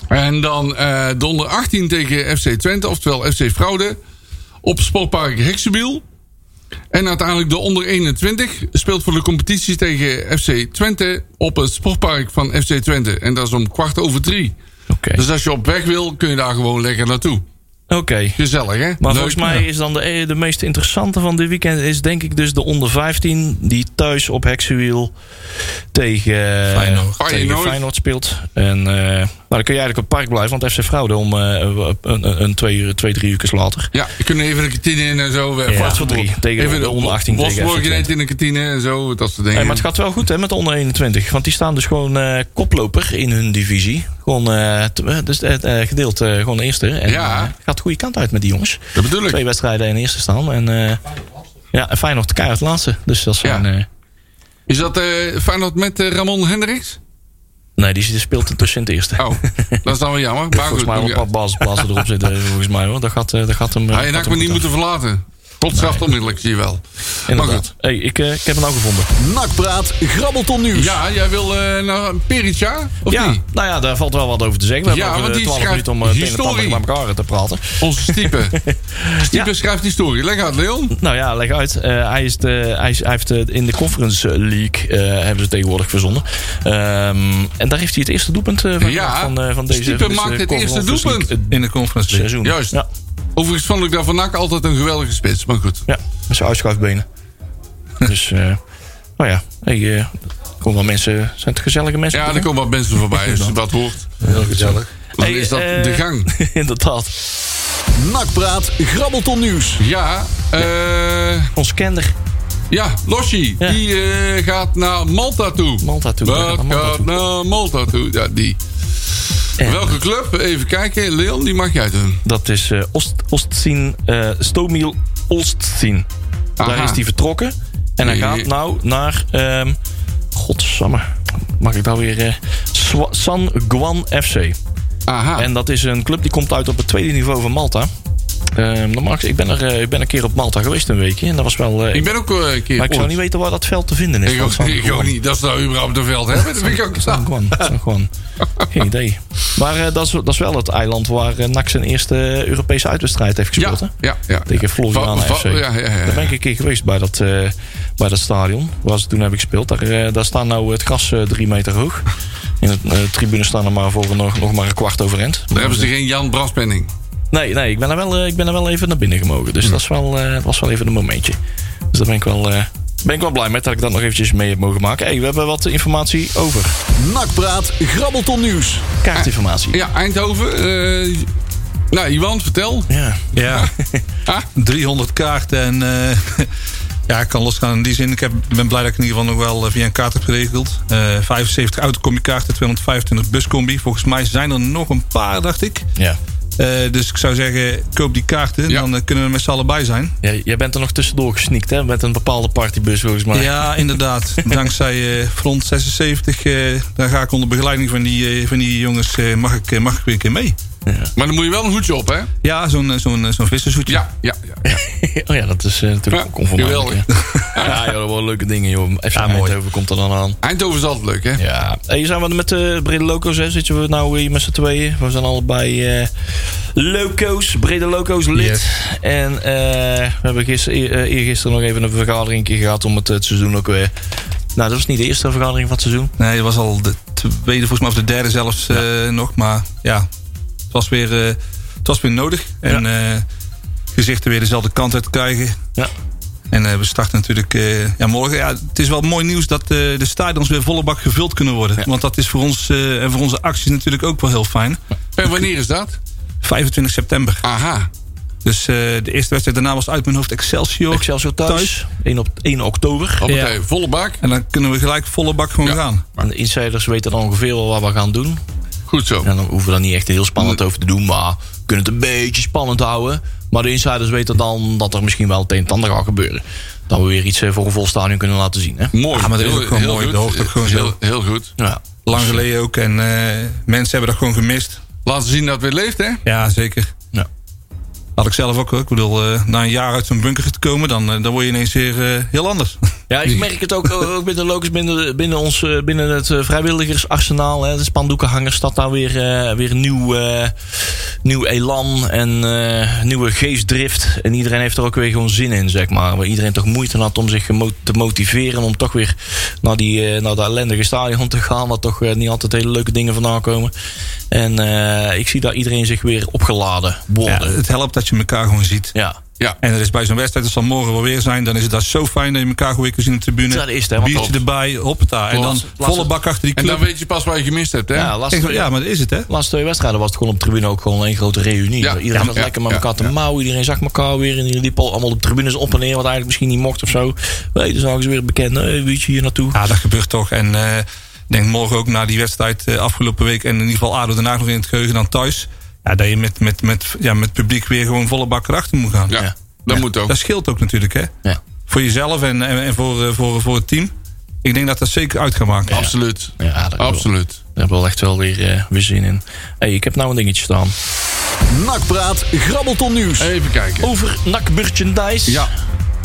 S3: En dan eh donder 18 tegen FC Twente, oftewel FC Fraude. Op Sportpark Heksenbiel. En uiteindelijk de onder 21 speelt voor de competitie tegen FC Twente op het sportpark van FC Twente. En dat is om kwart over drie.
S6: Oké.
S3: Dus als je op weg wil, kun je daar gewoon lekker naartoe.
S6: Oké.
S3: Gezellig, hè?
S6: Maar
S3: Leuk.
S6: volgens mij is dan de, de meest interessante van dit weekend... is denk ik dus de onder 15 die thuis op Heksenwiel tegen eh,
S7: Feyenoord.
S6: tegen
S3: Feyenoord.
S6: Feyenoord speelt. En, eh, maar dan kun je eigenlijk op het park blijven... want FC Fraude om eh, een, een twee, uur, twee, drie uur later...
S3: Ja, we kunnen even de kantine in en zo. eh,
S6: Ja,
S3: vast
S6: voor drie. Tegen
S3: even
S6: de onder 18 tegen
S3: Wolfsburg
S6: FC Twente.
S3: ineens in de kantine en zo, dat soort dingen.
S6: Hey, maar het gaat wel goed hè, met de onder 21. Want die staan dus gewoon eh, koploper in hun divisie. Gewoon eh, t- eh, dus, eh, eh, gedeeld eh, gewoon eerste. En,
S3: Ja.
S6: eh, gaat de goede kant uit met die jongens.
S3: Dat bedoel ik.
S6: Twee wedstrijden in eerste staan. En eh ja, en Feyenoord keihard laatste. Dus dat zijn...
S3: Ja.
S6: eh,
S3: Is dat eh Feyenoord met eh, Ramon Hendricks?
S6: nee, die zit- speelt tussen in het *laughs* eerste.
S3: Oh, dat is dan wel jammer. Maar goed,
S6: volgens mij wel een paar bas, blazen erop zitten. eh, Volgens mij hoor. Dat gaat, eh, dat gaat hem... eh,
S3: Hij
S6: gaat
S3: had
S6: hem
S3: Ah, me niet
S6: goed
S3: moeten verlaten. Klopstraft onmiddellijk, zie je wel.
S6: af. Inderdaad.
S3: Maar goed.
S6: Hey, ik, eh, ik heb hem nou gevonden.
S4: Nakpraat, grabbelton nieuws.
S3: Ja, jij wil eh naar Perica? Of
S6: ja,
S3: niet?
S6: nou ja, daar valt wel wat over te zeggen. We
S3: Ja,
S6: hebben
S3: want
S6: nog
S3: die
S6: 12
S3: schrijft
S6: minuten om eh, het een en ander
S3: historie.
S6: met elkaar te praten.
S3: Onze Stiepe.
S6: *laughs*
S3: Stiepe
S6: Ja.
S3: schrijft die story. Leg uit, Leon.
S6: Nou ja, leg uit. Eh, hij, is de, hij, is- hij heeft de, in de Conference League eh, hebben ze het tegenwoordig verzonnen. Ehm, en daar heeft hij het eerste doelpunt eh, van,
S3: Ja,
S6: gemaakt van, eh, van deze.
S3: Stiepen
S6: van deze
S3: maakt het eerste
S6: Conference League,
S3: doelpunt.
S6: eh,
S7: In de conference. League.
S6: seizoen.
S3: Juist.
S6: Ja,
S3: Overigens vond ik daar van NAC altijd een geweldige spits. Maar goed.
S6: ja met
S3: *laughs*
S6: zijn uitschuifbenen. dus, eh nou ja, hey, eh komen wel mensen. Zijn het gezellige mensen?
S3: Ja, er komen wat mensen voorbij als je dat hoort.
S6: heel gezellig.
S3: Dan is dat
S6: eh,
S3: de gang.
S6: *laughs* Inderdaad.
S4: Nakpraat, grabbelton nieuws.
S3: Ja, eh
S6: Ons kender
S3: ja Loshi.
S6: Ja.
S3: Die eh, gaat naar Malta toe.
S6: Malta toe, ja,
S3: Wat
S6: naar Malta
S3: gaat
S6: toe.
S3: naar Malta toe? Ja, die.
S6: En-
S3: Welke club? Even kijken. Leon, die mag jij doen.
S6: Dat is eh Ost, Ostzien, eh, Stomiel Ostzien.
S3: Aha.
S6: Daar is hij vertrokken. En hij
S3: Nee.
S6: gaat nou naar... ehm godsamme. Mag ik nou weer... eh, Swa- San Guan FC.
S3: Aha.
S6: En dat is een club die komt uit op het tweede niveau van Malta. Ehm, normaal gezien- ik, ben er, eh, ik ben een keer op Malta geweest een weekje. En dat was wel... eh,
S3: Ik ben ook eh, een keer
S6: maar ik zou
S3: ooit-
S6: niet weten waar dat veld te vinden is.
S3: Ik
S6: van
S3: ook,
S6: *laughs* San
S3: ik ook
S6: Guan.
S3: niet. Dat ze nou überhaupt een veld hebben, dat vind ik ook
S6: San *laughs*
S3: knap.
S6: Juan, San Juan. Geen idee. Maar eh, dat, is, dat is wel het eiland waar eh, NAC zijn eerste eh, Europese uitwedstrijd heeft
S3: Ja,
S6: gespeeld.
S3: ja,
S6: hè?
S3: ja, ja.
S6: Tegen Floriana
S3: Va- va-
S6: FC.
S3: ja, ja, ja.
S6: Daar ben ik een keer geweest bij dat, eh, bij dat stadion. Waar ze toen heb ik gespeeld. Daar, eh, daar staan nou het gras eh, drie meter hoog. In het eh, tribune staan er maar voor nog, nog maar een kwart overeind.
S3: Daar hebben ze geen Jan Braspenning.
S6: Nee, nee ik, ben er wel, eh, ik ben er wel even naar binnen gemogen. Dus dat is wel, eh, was wel even een momentje. Dus daar ben ik wel... eh, ben ik wel blij met dat ik dat nog eventjes mee heb mogen maken. hey, we hebben wat informatie over.
S4: Nakpraat, grabbelton nieuws.
S6: Kaartinformatie.
S3: Ja, Eindhoven. eh, nou, Iwan, vertel.
S6: Ja.
S3: *laughs*
S7: Ja.
S3: Ah.
S7: 300 kaarten en eh, *laughs* ja, ik kan losgaan in die zin. Ik heb, ben blij dat ik in ieder geval nog wel eh, via een kaart heb geregeld. Eh 75 autocombi kaarten, 225 buscombi. Volgens mij zijn er nog een paar, dacht ik.
S6: ja.
S7: Eh, dus ik zou zeggen, koop die kaarten.
S3: Ja.
S7: Dan eh, kunnen we met z'n allen bij zijn.
S6: Ja, jij bent er nog tussendoor gesneakt, hè? Met een bepaalde partybus, volgens mij.
S7: Ja, *laughs* inderdaad. Dankzij eh, Front 76, eh, daar ga ik onder begeleiding van die, eh, van die jongens, eh, mag, ik, eh, mag ik weer een keer mee.
S3: Maar dan moet je wel een hoedje op, hè?
S7: Ja, zo'n eh, zo'n eh, zo'n vissershoedje.
S3: Ja, ja, ja.
S6: *laughs* Oh ja, dat is eh, natuurlijk
S3: Ja,
S6: ook onvermijdelijk.
S3: geweldig.
S6: hè. Ja, joh, dat wel leuke dingen, joh. FC
S7: Ja, mooi.
S6: Eindhoven komt er dan aan.
S3: Eindhoven is altijd leuk, hè?
S6: Ja. Hey, zijn we met de Brede Loco's, hè? Zitten we nou hier met z'n tweeën? We zijn allebei eh, Loco's, Brede Loco's lid. En eh, we hebben gister, eer- eh, eergisteren nog even een vergadering gehad om het, eh, het seizoen ook weer... Nou, dat was niet de eerste vergadering van het seizoen.
S7: Nee, het was al de tweede, volgens mij, of de derde zelfs eh, nog. Maar ja, het was weer, eh, het was weer nodig. En eh, gezichten weer dezelfde kant uit krijgen.
S6: Ja.
S7: En eh, we starten natuurlijk eh, ja, morgen. Ja, het is wel mooi nieuws dat eh, de stadions weer volle bak gevuld kunnen worden. Want dat is voor ons eh, en voor onze acties natuurlijk ook wel heel fijn.
S3: En wanneer is dat?
S7: 25 september.
S3: Aha.
S7: Dus Dus eh, de eerste wedstrijd daarna was uit mijn hoofd Excelsior.
S6: Excelsior Oh, thuis. Oh. 1, op, 1 oktober.
S3: Hoppatee, volle bak.
S7: En dan kunnen we gelijk volle bak gewoon
S3: Ja.
S7: gaan.
S6: En de insiders weten dan ongeveer wel wat we gaan doen.
S3: Goed zo.
S6: En dan hoeven we er niet echt heel spannend over te doen. Maar we kunnen het een beetje spannend houden. Maar de insiders weten dan dat er misschien wel het een en ander gaat gebeuren. Dat we weer iets eh, voor een vol stadion kunnen laten zien. Hè?
S3: Mooi.
S7: Ja, maar dat is
S3: Heel-
S7: ook gewoon
S3: heel
S7: mooi.
S3: goed.
S7: De hoogte ook gewoon zo.
S3: Heel, heel goed.
S6: Ja.
S7: Lang geleden ook. En eh, mensen hebben dat gewoon gemist.
S3: Laten zien dat het weer leeft, hè?
S7: Ja, zeker.
S6: Ja.
S7: Had ik zelf ook. hoor. Ik bedoel, eh, na een jaar uit zo'n bunker te komen, dan, eh, dan word je ineens weer eh, heel anders.
S6: Ja, ik merk het ook, eh, ook binnen Locus, binnen, binnen, ons, eh, binnen het eh, vrijwilligersarsenaal. Hè, de spandoekenhangers staat daar weer, eh, weer een nieuw, eh, nieuw elan en eh, nieuwe geestdrift. En iedereen heeft er ook weer gewoon zin in, zeg maar. Waar iedereen toch moeite had om zich gemo- te motiveren. Om toch weer naar, die, eh, naar dat ellendige stadion te gaan. Wat toch eh, niet altijd hele leuke dingen vandaan komen. En eh, ik zie dat iedereen zich weer opgeladen
S7: Ja,
S6: worden. Ja.
S7: het helpt dat je elkaar gewoon ziet.
S3: Ja.
S7: En er is bij zo'n wedstrijd, dat zal morgen wel weer zijn, dan is het daar zo fijn dat je elkaar gewoon weer kunt zien op de tribune.
S6: Ja, dat is het, hè, want
S7: Biertje
S6: dat-
S7: erbij, hoppata. En dan
S6: Laatste-
S7: volle bak achter die
S3: En dan
S7: club.
S3: weet je pas wat je gemist hebt, hè?
S6: Ja,
S7: Ik
S6: lastig.
S7: denk, Ja, maar dat is het hè.
S6: De laatste twee wedstrijden was het gewoon op de tribune ook gewoon één grote reunie.
S3: Ja,
S6: iedereen
S3: ja,
S6: zat
S3: ja,
S6: lekker met
S3: ja,
S6: elkaar te mouwen. Iedereen zag elkaar weer. En die liepen al allemaal op de tribunes op en neer. Wat eigenlijk misschien niet mocht of zo. Nee, dan zagen ze weer bekenden. Hey, wie is hier naartoe?
S7: Ja, dat gebeurt toch. En eh, ik denk morgen ook na die wedstrijd eh, afgelopen week... en in ieder geval ADO daarna nog in het geheugen dan thuis... Ja, dat je met, met, met, ja, met publiek weer gewoon volle bak erachter moet gaan.
S3: Ja,
S6: Ja.
S3: dat
S7: Ja,
S3: moet ook.
S7: Dat scheelt ook natuurlijk, hè?
S6: Ja.
S7: Voor jezelf en, en, en voor, eh, voor, voor het team. Ik denk dat dat zeker uit gaat maken.
S3: Absoluut.
S6: Ja, dat
S3: Absoluut.
S6: Daar hebben we wel echt wel weer, eh, weer zin in. hey, ik heb nou een dingetje staan.
S4: Nakpraat, grabbelton nieuws.
S3: Even kijken.
S6: Over NAC merchandise.
S3: Ja.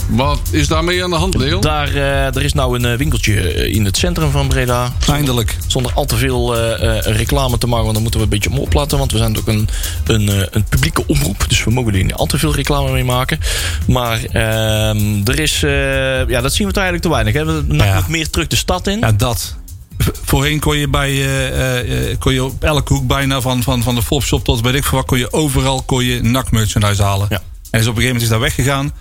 S3: Wat is daarmee aan de hand, Leon?
S6: Daar eh, er is nou een eh, winkeltje eh, in het centrum van Breda.
S7: Eindelijk.
S6: Zonder al te veel eh, eh, reclame te maken, want dan moeten we een beetje om oplatten. Want we zijn ook een, een, eh, een publieke omroep. Dus we mogen er niet al te veel reclame mee maken. Maar ehm, er is. eh, ja, dat zien we toch eigenlijk te weinig. Hè? We
S7: Ja.
S6: ja. nog meer terug de stad in.
S7: Ja, dat. V- Voorheen kon je, bij, eh, eh, eh, kon je op elke hoek bijna van, van, van de Flopshop tot weet ik veel wat... kon je overal kon je NAC-merchandise halen.
S6: Ja.
S7: En is op een gegeven moment is dat weggegaan.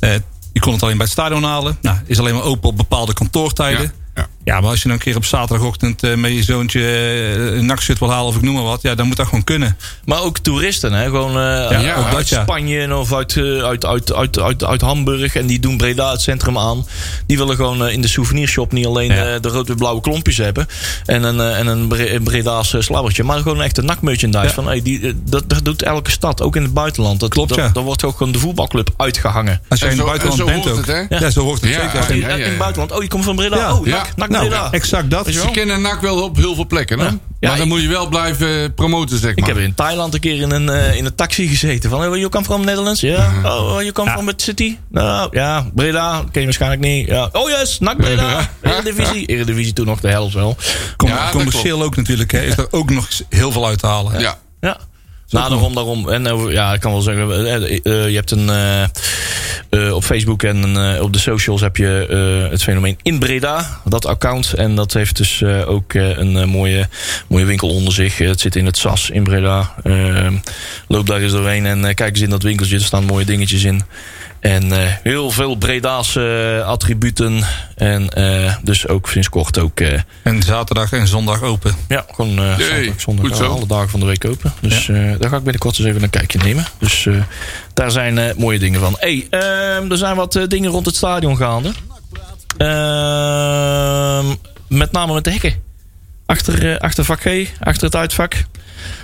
S7: Eh, je kon het alleen bij het stadion halen. Nou, is alleen maar open op bepaalde kantoortijden.
S3: Ja,
S7: Ja,
S3: ja.
S7: maar als je dan een keer op zaterdagochtend eh, met je zoontje eh, een NAC-shirt wil halen... of ik noem maar wat, ja, dan moet dat gewoon kunnen.
S6: Maar ook toeristen, hè? gewoon eh,
S7: Ja,
S6: uit,
S7: ook dat, ja.
S6: Spanje en of uit, eh, uit, uit, uit, uit, uit Hamburg. En die doen Breda het centrum aan. Die willen gewoon eh, in de souvenirshop niet alleen
S7: Ja.
S6: eh, de rood-blauwe klompjes hebben. En een, eh, en een, Bre- een Breda's eh, slabbertje. Maar gewoon echt een nakmerchandise.
S7: Ja.
S6: Van, hey, die, eh, dat, dat doet elke stad, ook in het buitenland. Dat,
S7: Klopt,
S6: dat-
S7: ja.
S6: Daar wordt ook gewoon de voetbalclub uitgehangen.
S7: Als jij
S3: En
S7: in het
S3: zo- en
S7: buitenland
S3: zo
S7: bent
S3: hoort
S7: ook.
S3: het, hè?
S7: Ja. zo hoort het
S3: Ja,
S7: zeker. Als
S6: In,
S7: je-
S3: ja, ja,
S6: in het
S3: ja.
S6: buitenland. Oh, je komt van Breda.
S7: Ja.
S6: Oh,
S3: Ja.
S6: Nak, Nak
S7: Nou,
S6: Breda.
S7: exact dat.
S6: Weet je
S3: Ze
S6: wel?
S3: kennen NAC wel op heel veel plekken, hè?
S6: Ja,
S3: maar dan
S6: ik-
S3: moet je wel blijven eh, promoten, zeg maar.
S6: Ik heb in Thailand een keer in een, eh, in een taxi gezeten. Van, hey, you come from Netherlands? Ja. Oh, you come
S7: Ja.
S6: from the city? Nou, ja. Breda, ken je waarschijnlijk niet. Ja. Oh yes, NAC Breda. Eredivisie. Eredivisie toen nog de helft wel.
S7: Com-
S3: Ja, dat
S7: commercieel ook natuurlijk. Hè, is er ook nog heel veel uit te halen. hè.
S3: Ja.
S6: Ja. Nou, daarom, daarom. En eh, ja, ik kan wel zeggen, eh, eh, eh, je hebt een... eh, eh, op Facebook en eh, op de socials heb je eh, het fenomeen In Breda, dat account. En dat heeft dus eh, ook eh, een eh, mooie, mooie winkel onder zich. Eh, het zit in het SAS in Breda. Eh, loop daar eens doorheen en eh, kijk eens in dat winkeltje. Er staan mooie dingetjes in. En eh, heel veel Breda's eh, attributen. En eh, dus ook sinds kort ook... eh,
S7: En zaterdag en zondag open.
S6: ja, gewoon eh
S3: Jee,
S6: zondag, zondag
S3: goed
S6: eh,
S3: zo.
S6: alle dagen van de week open. Dus eh, daar ga ik binnenkort eens even een kijkje nemen. Dus eh, daar zijn eh, mooie dingen van. hey, ehm, er zijn wat eh, dingen rond het stadion gaande. Ehm, met name met de hekken. Achter, eh, achter vak G, achter het uitvak.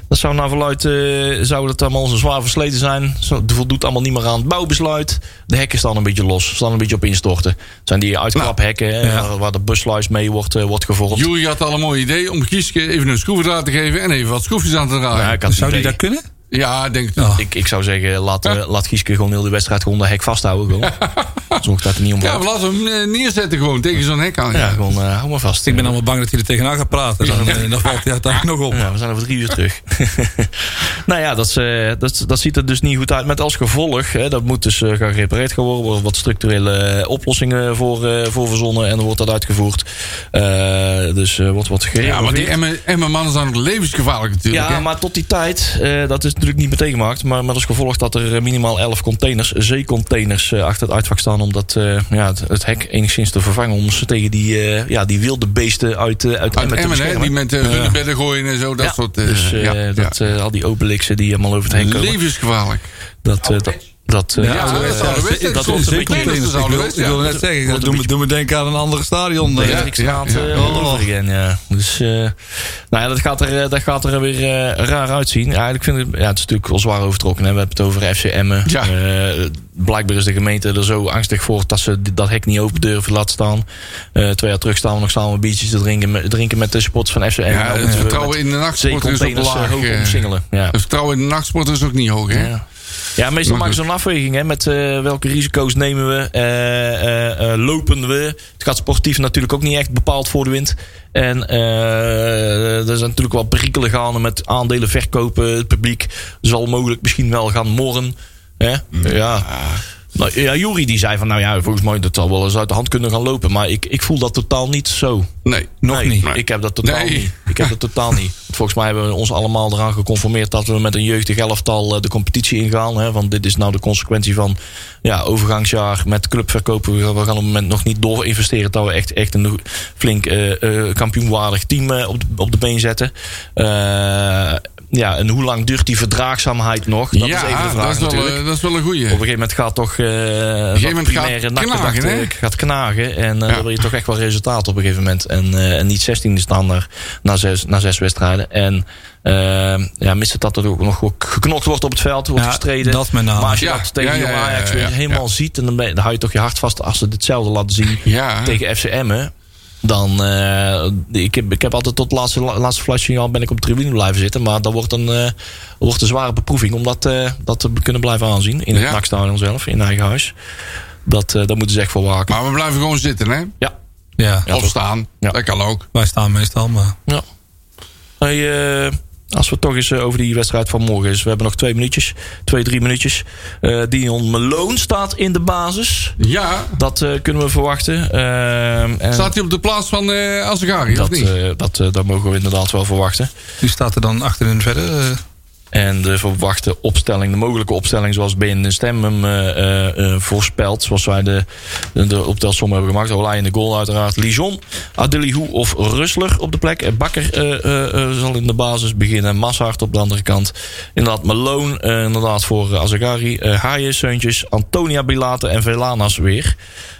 S6: Dat zou naar verluid, eh, zou dat allemaal zo zwaar versleten zijn. Zo, Het voldoet allemaal niet meer aan het bouwbesluit. De hekken staan een beetje los, staan een beetje op instorten. Het zijn die uitklaphekken eh,
S7: ja.
S6: waar, waar de buslijst mee wordt, eh, wordt gevormd.
S3: Jury had al een mooi idee om Gieske even een schroevendraad te geven en even wat schroefjes aan te draaien.
S6: Nou,
S3: Ja,
S6: ik had het
S7: Zou die
S6: idee.
S7: dat kunnen? Oh.
S3: denk ik.
S7: Ja.
S6: Ik, ik zou zeggen, laat, eh, laat Gieske gewoon heel de wedstrijd gewoon de hek vasthouden. Gewoon.
S3: *laughs*
S6: Zorg dat er niet om
S3: Ja,
S6: gaat.
S3: maar laten we hem eh, neerzetten gewoon tegen zo'n hek aan.
S6: Ja, gewoon eh, hou maar vast.
S7: Ik ben allemaal bang dat hij er tegenaan gaat praten. Dan, eh, dan valt hij uiteindelijk nog op.
S6: Ja, we zijn over drie uur terug. *laughs* nou ja, dat, is, eh, dat, dat ziet er dus niet goed uit. Met als gevolg, hè, dat moet dus eh, gaan gerepareerd gaan worden. Er worden wat structurele eh, oplossingen voor, eh, voor verzonnen. En dan wordt dat uitgevoerd. Eh, dus eh, wordt wat gereden.
S3: Ja, maar die Emmen- Emmen-mannen zijn ook levensgevaarlijk natuurlijk.
S6: Ja,
S3: hè?
S6: maar tot die tijd, eh, dat is natuurlijk niet meteen gemaakt. Maar met als gevolg dat er eh, minimaal 11 containers, zeecontainers, eh, achter het uitvak staan. Om dat, eh, ja, het, het hek enigszins te vervangen. Om ze tegen die, eh, ja, die wilde beesten uit, eh uit,
S3: Uit
S6: Emmen te
S3: Emmen, hè,
S6: beschermen.
S3: die met eh, hunebedden gooien en zo, dat
S6: Ja,
S3: soort... eh,
S6: dus eh,
S3: ja,
S6: dat,
S3: ja.
S6: eh, al die obelixen die allemaal over het heen komen.
S3: Levensgevaarlijk.
S6: Dat, eh, dat, dat, eh,
S3: Ja, dat is
S6: eh,
S3: ouderwets.
S6: dat
S3: Dat
S6: was een
S3: zeker
S6: beetje-
S3: niet. Dat is
S6: Ik
S3: ouderwets,
S6: wil-
S3: ja.
S6: ik wil
S3: Dat
S6: net zeggen, dat
S8: Doe
S6: doe
S8: me, doe me denken aan een ander stadion.
S6: de
S8: eh.
S6: Hendrikstraat
S3: ja,
S6: eh, all over again, ja. Dus eh, nou ja, dat gaat er, eh, dat gaat er weer eh, raar uitzien. Ja, eigenlijk vind ik, ja, het is natuurlijk al zwaar overtrokken. Hè. We hebben het over FC Emmen.
S3: Ja.
S6: Eh, blijkbaar is de gemeente er zo angstig voor dat ze dit- dat hek niet open durven te laten staan. Eh, twee jaar terug staan we nog samen biertjes te drinken, met- drinken met de spots van FC Emmen.
S3: Ja,
S6: Om,
S3: het
S6: eh,
S3: vertrouwen
S6: met
S3: in de nachtsport is ook
S6: zeecontainers, eh,
S3: laag.
S6: hoog
S3: eh.
S6: omsingelen. Ja.
S3: Het vertrouwen in de nachtsport is ook niet hoog, hè?
S6: Ja. Ja, meestal
S3: Maar
S6: maken ze een afweging hè, met eh, welke risico's nemen we, eh, eh, eh, lopen we. Het gaat sportief natuurlijk ook niet echt bepaald voor de wind. En eh, er zijn natuurlijk wel perikelen gaande met aandelen verkopen. Het publiek zal mogelijk misschien wel gaan morren. Hè? Ja. Nou, ja, Jury die zei van, nou ja, volgens mij dat zal wel eens uit de hand kunnen gaan lopen. Maar ik, ik voel dat totaal niet zo.
S3: Nee.
S7: Nog
S6: Nee,
S7: niet.
S6: Ik heb dat totaal
S3: Nee.
S6: niet. Ik heb dat totaal niet. Want Volgens mij hebben we ons allemaal eraan geconformeerd dat we met een jeugdig elftal eh, de competitie ingaan. Hè? Want dit is nou de consequentie van ja, overgangsjaar met clubverkopen. We gaan op het moment nog niet door investeren dat we echt, echt een flink eh, eh, kampioenwaardig team eh, op, de, op de been zetten. Eh, ja, en hoe lang duurt die verdraagzaamheid nog? Dat is
S3: ja,
S6: even de vraag
S3: dat, is wel,
S6: natuurlijk.
S3: eh, dat is wel een goeie.
S6: Op een gegeven moment gaat toch eh dat
S3: gegeven moment
S6: primaire eh,
S3: gaat
S6: nachtgedachte
S3: knagen, hè?
S6: gaat knagen. En eh,
S3: Ja.
S6: dan wil je toch echt wel resultaat op een gegeven moment. En, eh, en niet 16 staan er na zes, na zes wedstrijden. En eh, ja, mist het dat er ook nog ook geknokt wordt op het veld, wordt
S7: Ja,
S6: gestreden.
S7: dat met name.
S6: Maar als je
S3: Ja,
S6: dat tegen
S3: ja,
S6: jonge
S3: ja, ja,
S6: Ajax weer
S3: ja, ja.
S6: helemaal ziet, en dan, ben je- dan hou je toch je hart vast als ze hetzelfde laten zien
S3: Ja,
S6: tegen FCM. Dan, eh, ik, heb, ik heb altijd tot het laatste, laatste flasje signaal ben ik op de tribune blijven zitten. Maar dat wordt een, eh, wordt een zware beproeving om dat, eh, dat te kunnen blijven aanzien. In het
S3: Ja.
S6: NAC-stadion zelf, in eigen huis. Dat, eh daar moeten ze echt voor waken.
S3: maar we blijven gewoon zitten, hè?
S6: Ja.
S7: Ja,
S6: Ja,
S3: of
S6: toch.
S3: staan.
S6: Ja.
S3: Dat kan ook.
S7: wij staan meestal. Maar
S6: ja. Hey, eh, als we toch eens eh, over die wedstrijd van morgen is. We hebben nog twee minuutjes. Twee, drie minuutjes. Eh, Dion Malone staat in de basis.
S3: Ja.
S6: Dat eh, kunnen we verwachten. Ehm, en
S3: Staat hij op de plaats van eh Azegari, of
S6: dat,
S3: niet?
S6: eh, dat, eh, dat mogen we inderdaad wel verwachten.
S7: die staat er dan achterin verder. eh,
S6: En de verwachte opstelling, de mogelijke opstelling zoals BN de Stem hem eh, eh, eh, voorspelt. Zoals wij de, de, de optelsom hebben gemaakt. Olij in de goal uiteraard. Lijon, Adelihou of Rusler op de plek. Eh, Bakker eh, eh, eh, zal in de basis beginnen. Massaert op de andere kant. Inderdaad Malone eh, inderdaad voor eh, Azagari. eh Haaien, Seuntjes, Antonia Bilate en Velanas weer.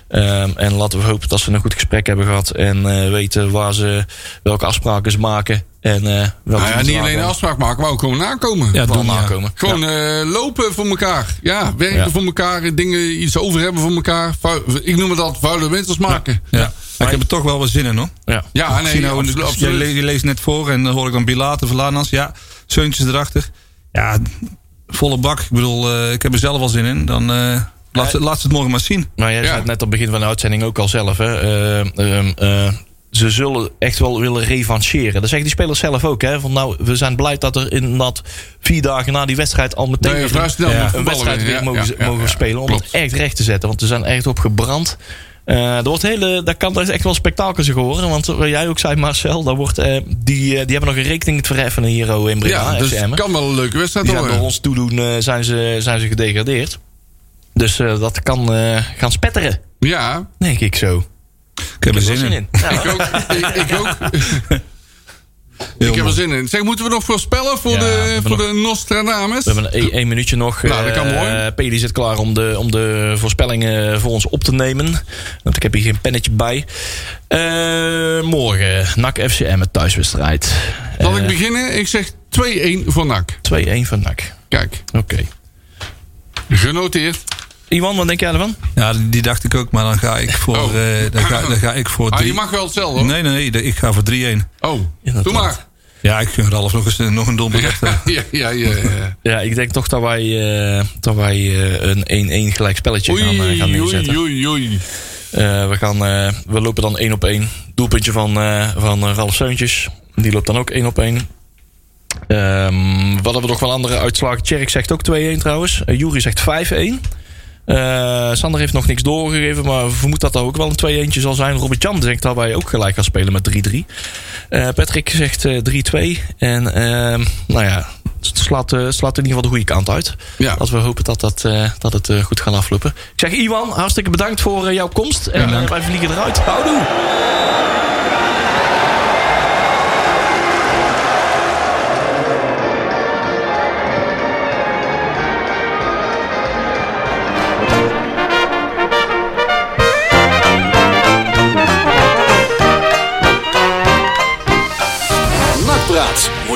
S6: Ehm, en laten we hopen dat ze een goed gesprek hebben gehad. En eh, weten waar ze, welke afspraken ze maken. En, eh,
S3: Nou
S6: welke
S3: ja,
S6: ze
S3: niet
S6: dragen.
S3: alleen een afspraak maken, maar ook gewoon nakomen.
S7: Ja,
S6: Vooral
S7: doen, ja.
S6: nakomen.
S3: Gewoon eh, lopen voor elkaar. Ja, werken
S6: Ja.
S3: voor elkaar. Dingen iets over hebben voor elkaar. Vuil- ik noem het altijd vuile winters maken.
S7: ja. Maar ik heb er toch wel wat zin in hoor.
S6: Ja.
S3: Ja,
S7: Ik
S3: nee,
S7: zie nou,
S3: absolu-
S7: je
S3: absoluut.
S7: le- je leest net voor en dan hoor ik dan Bilater, Verlanas. Ja, Zeuntjes erachter. Ja, volle bak. Ik bedoel, eh, ik heb er zelf al zin in. Dan eh, laat, ze, laat ze het morgen maar zien.
S6: Nou, jij zei het net aan het begin van de uitzending ook al zelf. Hè? Eh, ehm, eh, ze zullen echt wel willen revancheren. Dat zeggen die spelers zelf ook. Hè? Van, nou, we zijn blij dat er inderdaad vier dagen na die wedstrijd al meteen
S3: Nee,
S6: weer
S3: vrij snel
S6: een,
S3: moet
S6: een
S3: voetballen
S6: wedstrijd
S3: weer.
S6: weer
S3: Ja,
S6: mogen,
S3: ja, ja,
S6: mogen
S3: ja.
S6: spelen. Om
S3: Klopt.
S6: het echt recht te zetten. Want ze zijn er echt op gebrand. Eh er wordt hele, daar kan er echt wel spektakel zich horen. Want wat jij ook zei, Marcel, daar wordt, eh, die, eh, die hebben nog een rekening te verheffen hier oh, in Breda.
S3: Ja, dus
S6: FCM.
S3: het kan wel een leuke wedstrijd
S6: Die zijn door
S3: worden.
S6: ons toedoen eh, zijn, ze, zijn ze gedegradeerd. Dus eh, dat kan eh, gaan spetteren,
S3: Ja,
S6: denk ik zo.
S7: Ik heb er zin, in.
S6: Ja.
S3: ik ook. ik, ik
S6: *laughs*
S3: ook. ik heb er zin in. Zeg, moeten we nog voorspellen voor,
S6: Ja, we
S3: de,
S6: hebben
S3: voor
S6: nog-
S3: de Nostradamus?
S6: We hebben één, één minuutje nog.
S3: Nou, dat kan
S6: Eh,
S3: mooi.
S6: P die zit klaar om de, om de voorspellingen voor ons op te nemen. Want ik heb hier geen pennetje bij. Eh, morgen, NAC FCM, het thuiswedstrijd.
S3: Zal
S6: Eh.
S3: ik beginnen? Ik zeg 2-1 voor NAC.
S6: 2-1 van NAC.
S3: Kijk,
S6: Oké.
S3: genoteerd. Ah,
S6: Iwan, wat denk jij ervan?
S7: Ja, die, die dacht ik ook. Maar dan ga ik
S3: *laughs*
S7: voor,
S3: Oh.
S7: eh, dan ga, dan ga ik voor
S3: Ah,
S7: drie...
S3: je mag wel hetzelfde hoor.
S7: Nee, nee, nee. de- Ik ga voor 3-1.
S3: Oh,
S6: Inderdaad.
S3: doe maar. *laughs*
S7: Ja, ik gun Ralf nog, eens, eh, nog een doelpunt.
S3: Ja, ja, ja. ja.
S6: Ja, ik denk toch dat wij, eh, dat wij eh, een 1-1 gelijk spelletje gaan, eh, gaan
S3: Oei,
S6: neerzetten.
S3: oei, oei, oei.
S6: Eh, we, gaan, eh, we lopen dan één op één. Doelpuntje van, eh, van eh, Ralf Seuntjes. Die loopt dan ook één op één. Ehm, wat hebben we nog wel andere uitslagen? Tjerk zegt ook 2-1 trouwens. Eh, Jury zegt 5-1. Eh, Sander heeft nog niks doorgegeven, maar vermoed dat dat ook wel een 2-1 zal zijn. Robert Jan denkt dat wij ook gelijk gaan spelen met 3-3. Eh, Patrick zegt eh, 3-2. En ehm, nou ja, het slaat, eh, het slaat in ieder geval de goede kant uit.
S3: Ja.
S6: Laten we hopen dat, dat, eh, dat het eh, goed gaat aflopen. Ik zeg Iwan, hartstikke bedankt voor eh, jouw komst. En eh, wij vliegen eruit. Houdoe!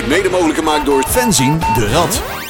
S4: Mede mogelijk gemaakt door Fenzin de Rad.